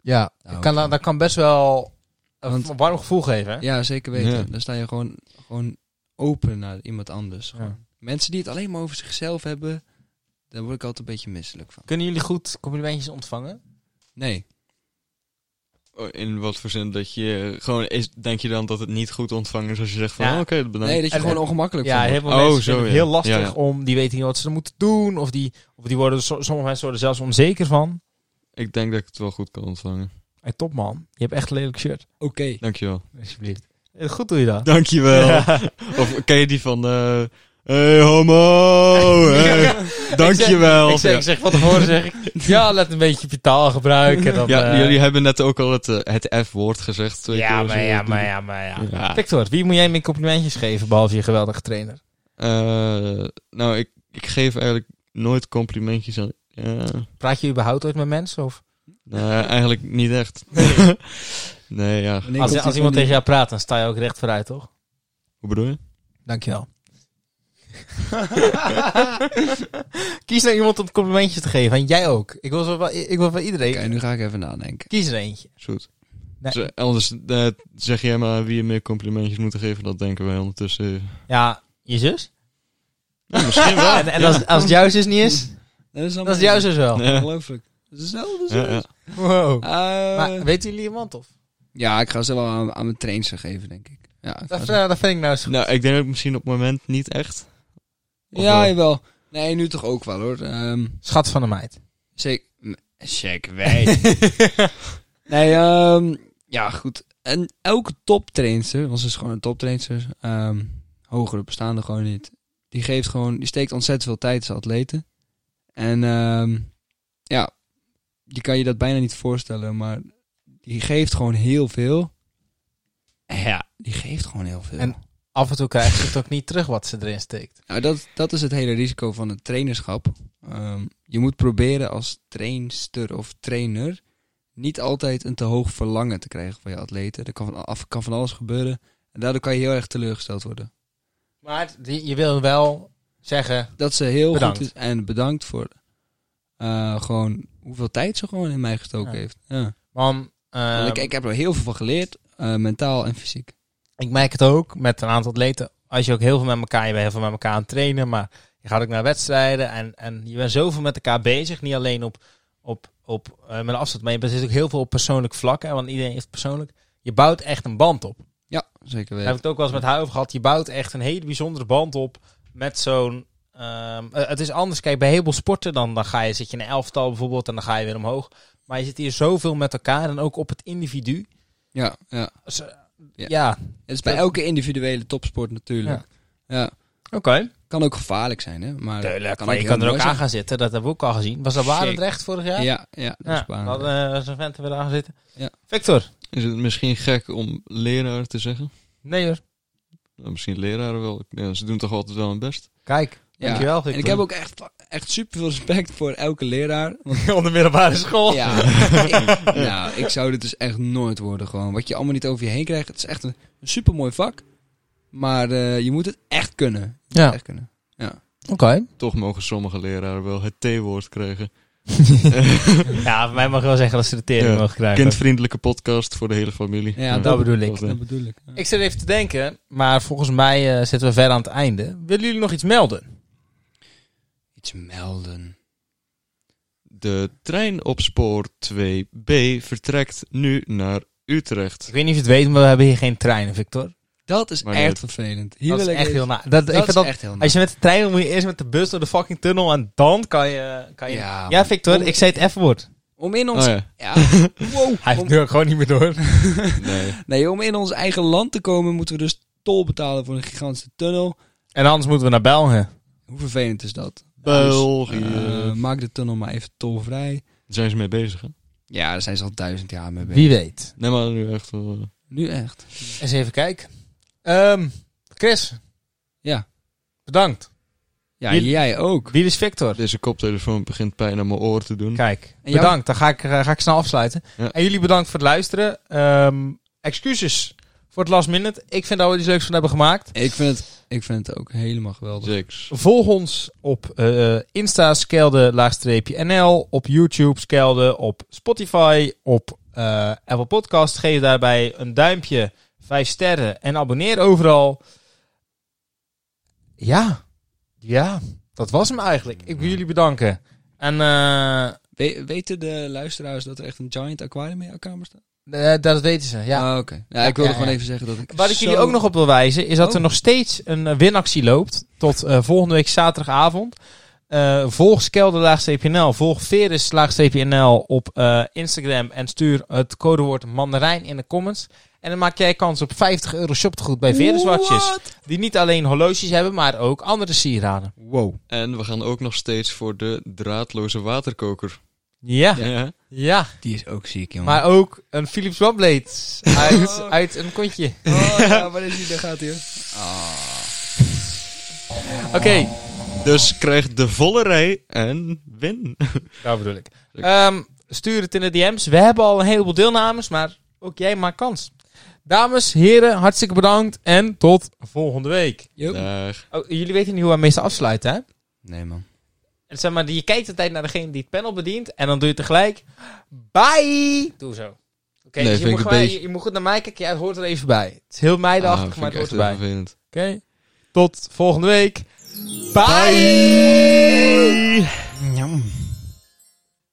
A: ja.
B: Daar
A: kan,
B: hou ik
A: dat,
B: van.
A: dat kan best wel een
B: Want-
A: v- warm gevoel geven. hè?
B: Ja, zeker weten.
C: Ja.
B: Dan sta je gewoon, gewoon open naar iemand anders.
A: Ja.
B: Gewoon. Mensen die het alleen maar over zichzelf hebben, daar word ik altijd een beetje misselijk van.
A: Kunnen jullie goed complimentjes ontvangen?
B: Nee.
C: in wat voor zin dat je gewoon is, denk je dan dat het niet goed ontvangen is als je zegt van
A: Ja.
C: oh, oké, bedankt.
B: Nee, dat je
A: En-
B: gewoon ongemakkelijk
A: Ja,
B: van
A: heel
B: wordt.
A: veel
C: Oh,
A: mensen
C: zo,
A: vinden het
C: ja.
A: heel lastig
C: Ja, ja.
A: om, die weten niet wat ze moeten doen. Of, die, of die worden, so- sommige mensen worden er zelfs onzeker van.
C: Ik denk dat ik het wel goed kan ontvangen.
A: Hey, top man, je hebt echt een lelijk shirt.
B: Oké.
C: Dankjewel.
A: Alsjeblieft. Eh, Goed doe je dat.
C: Dankjewel. Of ken je die van... eh hey homo, hey, dankjewel.
A: Ik zeg, ik zeg van tevoren zeg ik, ja, let een beetje op je taalgebruik. En dan,
C: ja,
A: eh,
C: jullie hebben net ook al het, eh, het F-woord gezegd. twee
A: ja,
C: keer,
A: maar
C: zo.
A: ja, maar ja, maar ja.
C: Ja.
A: Victor, wie moet jij meer complimentjes geven, behalve je geweldige trainer?
C: Eh, nou, ik, ik geef eigenlijk nooit complimentjes aan... Ja,
A: Praat je überhaupt ooit met mensen? Of?
C: nee, eigenlijk niet echt. nee, ja.
A: Als,
B: Wanneer komt
A: als
B: die
A: iemand
B: van
A: tegen
B: die-
A: jou praat, dan sta je ook recht vooruit, toch?
C: Hoe bedoel je?
A: Dankjewel. Kies nou iemand om complimentjes te geven. En jij ook. Ik wil zo wel, ik wil van iedereen.
B: Oké, nu ga ik even nadenken.
A: Kies er eentje.
C: Zoet.
A: Nee.
C: Z- anders eh, zeg jij maar wie je meer complimentjes moet geven. Dat denken wij ondertussen.
A: Ja, je zus.
C: misschien wel.
A: En, en als, als het jouw zus niet is,
B: Dat is,
A: dan is het jouw zus wel.
C: Ja.
B: Ongelooflijk. Dat is hetzelfde.
C: Ja, ja.
A: Wow.
B: Eh,
A: Maar weten jullie iemand of?
B: ja, ik ga ze wel aan, aan mijn trains geven, denk ik. Ja, ik ga
A: Dat,
B: ze-
A: eh, dat vind ik nou eens goed.
C: Nou, ik denk ook misschien op het moment niet echt. Of
B: ja
C: wel?
B: jawel. Nee, nu toch ook wel hoor. Ehm
A: Schat van de meid.
B: zeker. Check wij. nee, ehm, ja goed. En elke toptrainster, want ze is gewoon een toptrainster, ehm hogere bestaande gewoon niet. Die geeft gewoon, die steekt ontzettend veel tijd in zijn atleten. En ehm, ja, je kan je dat bijna niet voorstellen, maar die geeft gewoon heel veel. Ja, die geeft gewoon heel veel.
A: En- Af en toe krijg je het ook niet terug wat ze erin steekt.
B: Nou, dat, dat is het hele risico van het trainerschap. Ehm, je moet proberen als trainster of trainer niet altijd een te hoog verlangen te krijgen van je atleten. Er kan van, af, kan van alles gebeuren. En daardoor kan je heel erg teleurgesteld worden.
A: Maar die- je wil wel zeggen,
B: Dat ze heel
A: Bedankt.
B: goed is en bedankt voor eh, gewoon hoeveel tijd ze gewoon in mij gestoken
A: Ja.
B: heeft. Ja.
A: man, eh,
B: Want ik, ik heb er heel veel van geleerd, eh, mentaal en fysiek.
A: ik merk het ook met een aantal atleten. Als je ook heel veel met elkaar, je bent heel veel met elkaar aan het trainen, maar je gaat ook naar wedstrijden en, en je bent zoveel met elkaar bezig. Niet alleen op, op, op eh, met afstand, maar je bent ook heel veel op persoonlijk vlak. Hè, want iedereen heeft persoonlijk. Je bouwt echt een band op.
B: Ja, zeker
A: Daar heb
B: weten.
A: ik het ook wel eens met haar over gehad. Je bouwt echt een hele bijzondere band op met zo'n. ehm, eh, het is anders. Kijk, bij heel veel sporten dan, dan ga je, zit je in een elftal bijvoorbeeld en dan ga je weer omhoog. Maar je zit hier zoveel met elkaar en ook op het individu.
B: Ja, ja.
A: Dus, eh,
B: Ja.
A: ja.
B: Het is bij
A: Dat-
B: elke individuele topsport natuurlijk. ja.
A: oké.
B: Kan ook gevaarlijk zijn, hè? Maar
A: Tuurlijk,
B: Nou, kan
A: maar
B: ook
A: je
B: heel
A: kan er ook
B: mooi zijn.
A: aan gaan zitten. Dat hebben we ook al gezien. Was dat
B: Shit.
A: Barendrecht vorig jaar?
B: Ja, ja, dat is
A: ja
B: Barend.
A: dat eh zijn vent er weer aan gaan zitten.
B: Ja.
A: Victor?
C: Is het misschien gek om leraar te zeggen?
A: Nee hoor.
C: Nou, misschien leraren wel. Ja, ze doen toch altijd wel hun best.
A: Kijk,
B: Ja.
A: dankjewel
B: En
A: Victor.
B: ik heb ook echt, echt super veel respect voor elke leraar. Want
A: op de middelbare school.
B: ja, ik, nou, ik zou dit dus echt nooit worden gewoon. Wat je allemaal niet over je heen krijgt, het is echt een, een super mooi vak. Maar eh, je moet het echt kunnen. Je moet
A: Ja.
B: het echt kunnen.
A: oké.
C: Toch mogen sommige leraren wel het T-woord krijgen.
A: Ja, voor mij mag je wel zeggen dat ze de tering
C: Ja.
A: mogen krijgen.
C: Kindvriendelijke podcast voor de hele familie.
B: Ja,
A: dat bedoel ik.
C: was het.
B: bedoel ik. Ja.
A: Mm. Ik zit even te denken, maar volgens mij eh, zitten we ver aan het einde. Willen jullie nog iets melden?
B: Iets melden.
C: De trein op spoor 2B vertrekt nu naar Utrecht.
A: Ik weet niet of je het weet, maar we hebben hier geen treinen, Victor.
B: Dat is
C: Maar
B: echt
C: dit-
B: vervelend. Hier
A: Dat is
B: wil ik
A: echt
B: even-
A: heel na. Dat, ik
B: Dat
A: vind
B: is
A: dat,
B: echt heel na.
A: als je met de trein wil, moet je eerst met de bus door de fucking tunnel en dan kan je... Kan je... Ja,
B: Ja, man.
A: Victor, ik zei het F-woord.
B: Om in ons...
C: Oh ja,
B: ja. wow.
A: Hij
B: Om-
A: heeft nu ook gewoon niet meer door.
C: nee.
B: nee, om in ons eigen land te komen moeten we dus tol betalen voor een gigantische tunnel.
A: En anders moeten we naar België.
B: Hoe vervelend is dat?
C: België.
B: Dus, eh, maak de tunnel maar even tolvrij.
C: Daar zijn ze mee bezig, hè?
B: Ja, daar zijn ze al duizend jaar mee bezig.
A: Wie weet.
C: Nee, maar nu echt... wel, eh,
B: Nu echt.
A: Eens even kijken. Ehm, Chris.
B: Ja.
A: Bedankt.
B: Ja,
A: Wie-
B: jij ook.
A: Wie is Victor?
C: deze koptelefoon begint pijn aan mijn oor te doen.
A: Kijk,
B: jou?
A: bedankt. Dan ga ik, eh, ga ik snel afsluiten.
C: Mm. Ja.
A: En jullie bedankt voor het luisteren. Ehm, excuses voor het last minute. Ik vind dat we iets leuks van hebben gemaakt.
B: Ik vind het, ik vind het ook helemaal geweldig.
C: Seks.
A: Volg ons op eh, Insta, Skelde, laagstreepje NL. Op YouTube, Skelde. Op Spotify. Op eh, Apple Podcast. Geef daarbij een duimpje, vijf sterren. En abonneer overal. Ja. Ja. Dat was hem eigenlijk. Ik wil jullie bedanken. En eh,
B: We- weten de luisteraars dat er echt een giant aquarium in jouw kamer staat?
A: eh, dat weten ze. Ja.
B: Ah, oké. Ja, ik wilde
A: ja,
B: gewoon
A: ja.
B: even zeggen dat ik
A: Waar ik
B: zo-
A: jullie ook nog op wil wijzen, is dat er
B: Oh.
A: nog steeds een eh, winactie loopt. Tot eh, volgende week zaterdagavond. Eh, volg Skelde-NL, volg Veris-NL op eh, Instagram. En stuur het codewoord mandarijn in de comments. En dan maak jij kans op 50 euro shoptegoed bij Veriswatches.
B: What?
A: Die niet alleen horloges hebben, maar ook andere sieraden.
B: Wow.
C: En we gaan ook nog steeds voor de draadloze waterkoker.
A: Ja,
C: Ja.
A: ja.
B: Die is ook ziek, jongen.
A: Maar ook een Philips OneBlade uit, uit een kontje.
B: Oh, ja, waar is die? Daar gaat hij. hoor.
A: Oké.
C: Dus krijg de volle rij en win.
A: Daar bedoel ik. Ehm, stuur het in de DM's. We hebben al een heleboel deelnames, maar ook jij maakt kans. Dames, heren, hartstikke bedankt en tot volgende week.
B: Joep.
C: Dag.
A: Oh, jullie weten niet hoe we meestal afsluiten, hè?
B: Nee, man.
A: En zeg maar, je kijkt altijd naar degene die het panel bedient en dan doe je tegelijk bye. Doe zo. Oké,
C: Nee,
A: dus
C: vind
A: je moet,
C: ik een
A: gewoon-
C: beetje-
A: je, je moet goed naar mij kijken. Ja, het hoort er even bij. Het is heel meidenachtig, maar
C: Ah, vind
A: het
C: ik echt
A: hoort
C: heel
A: erbij. Oké,
C: vervelend.
A: tot volgende week. bye.
B: Njam.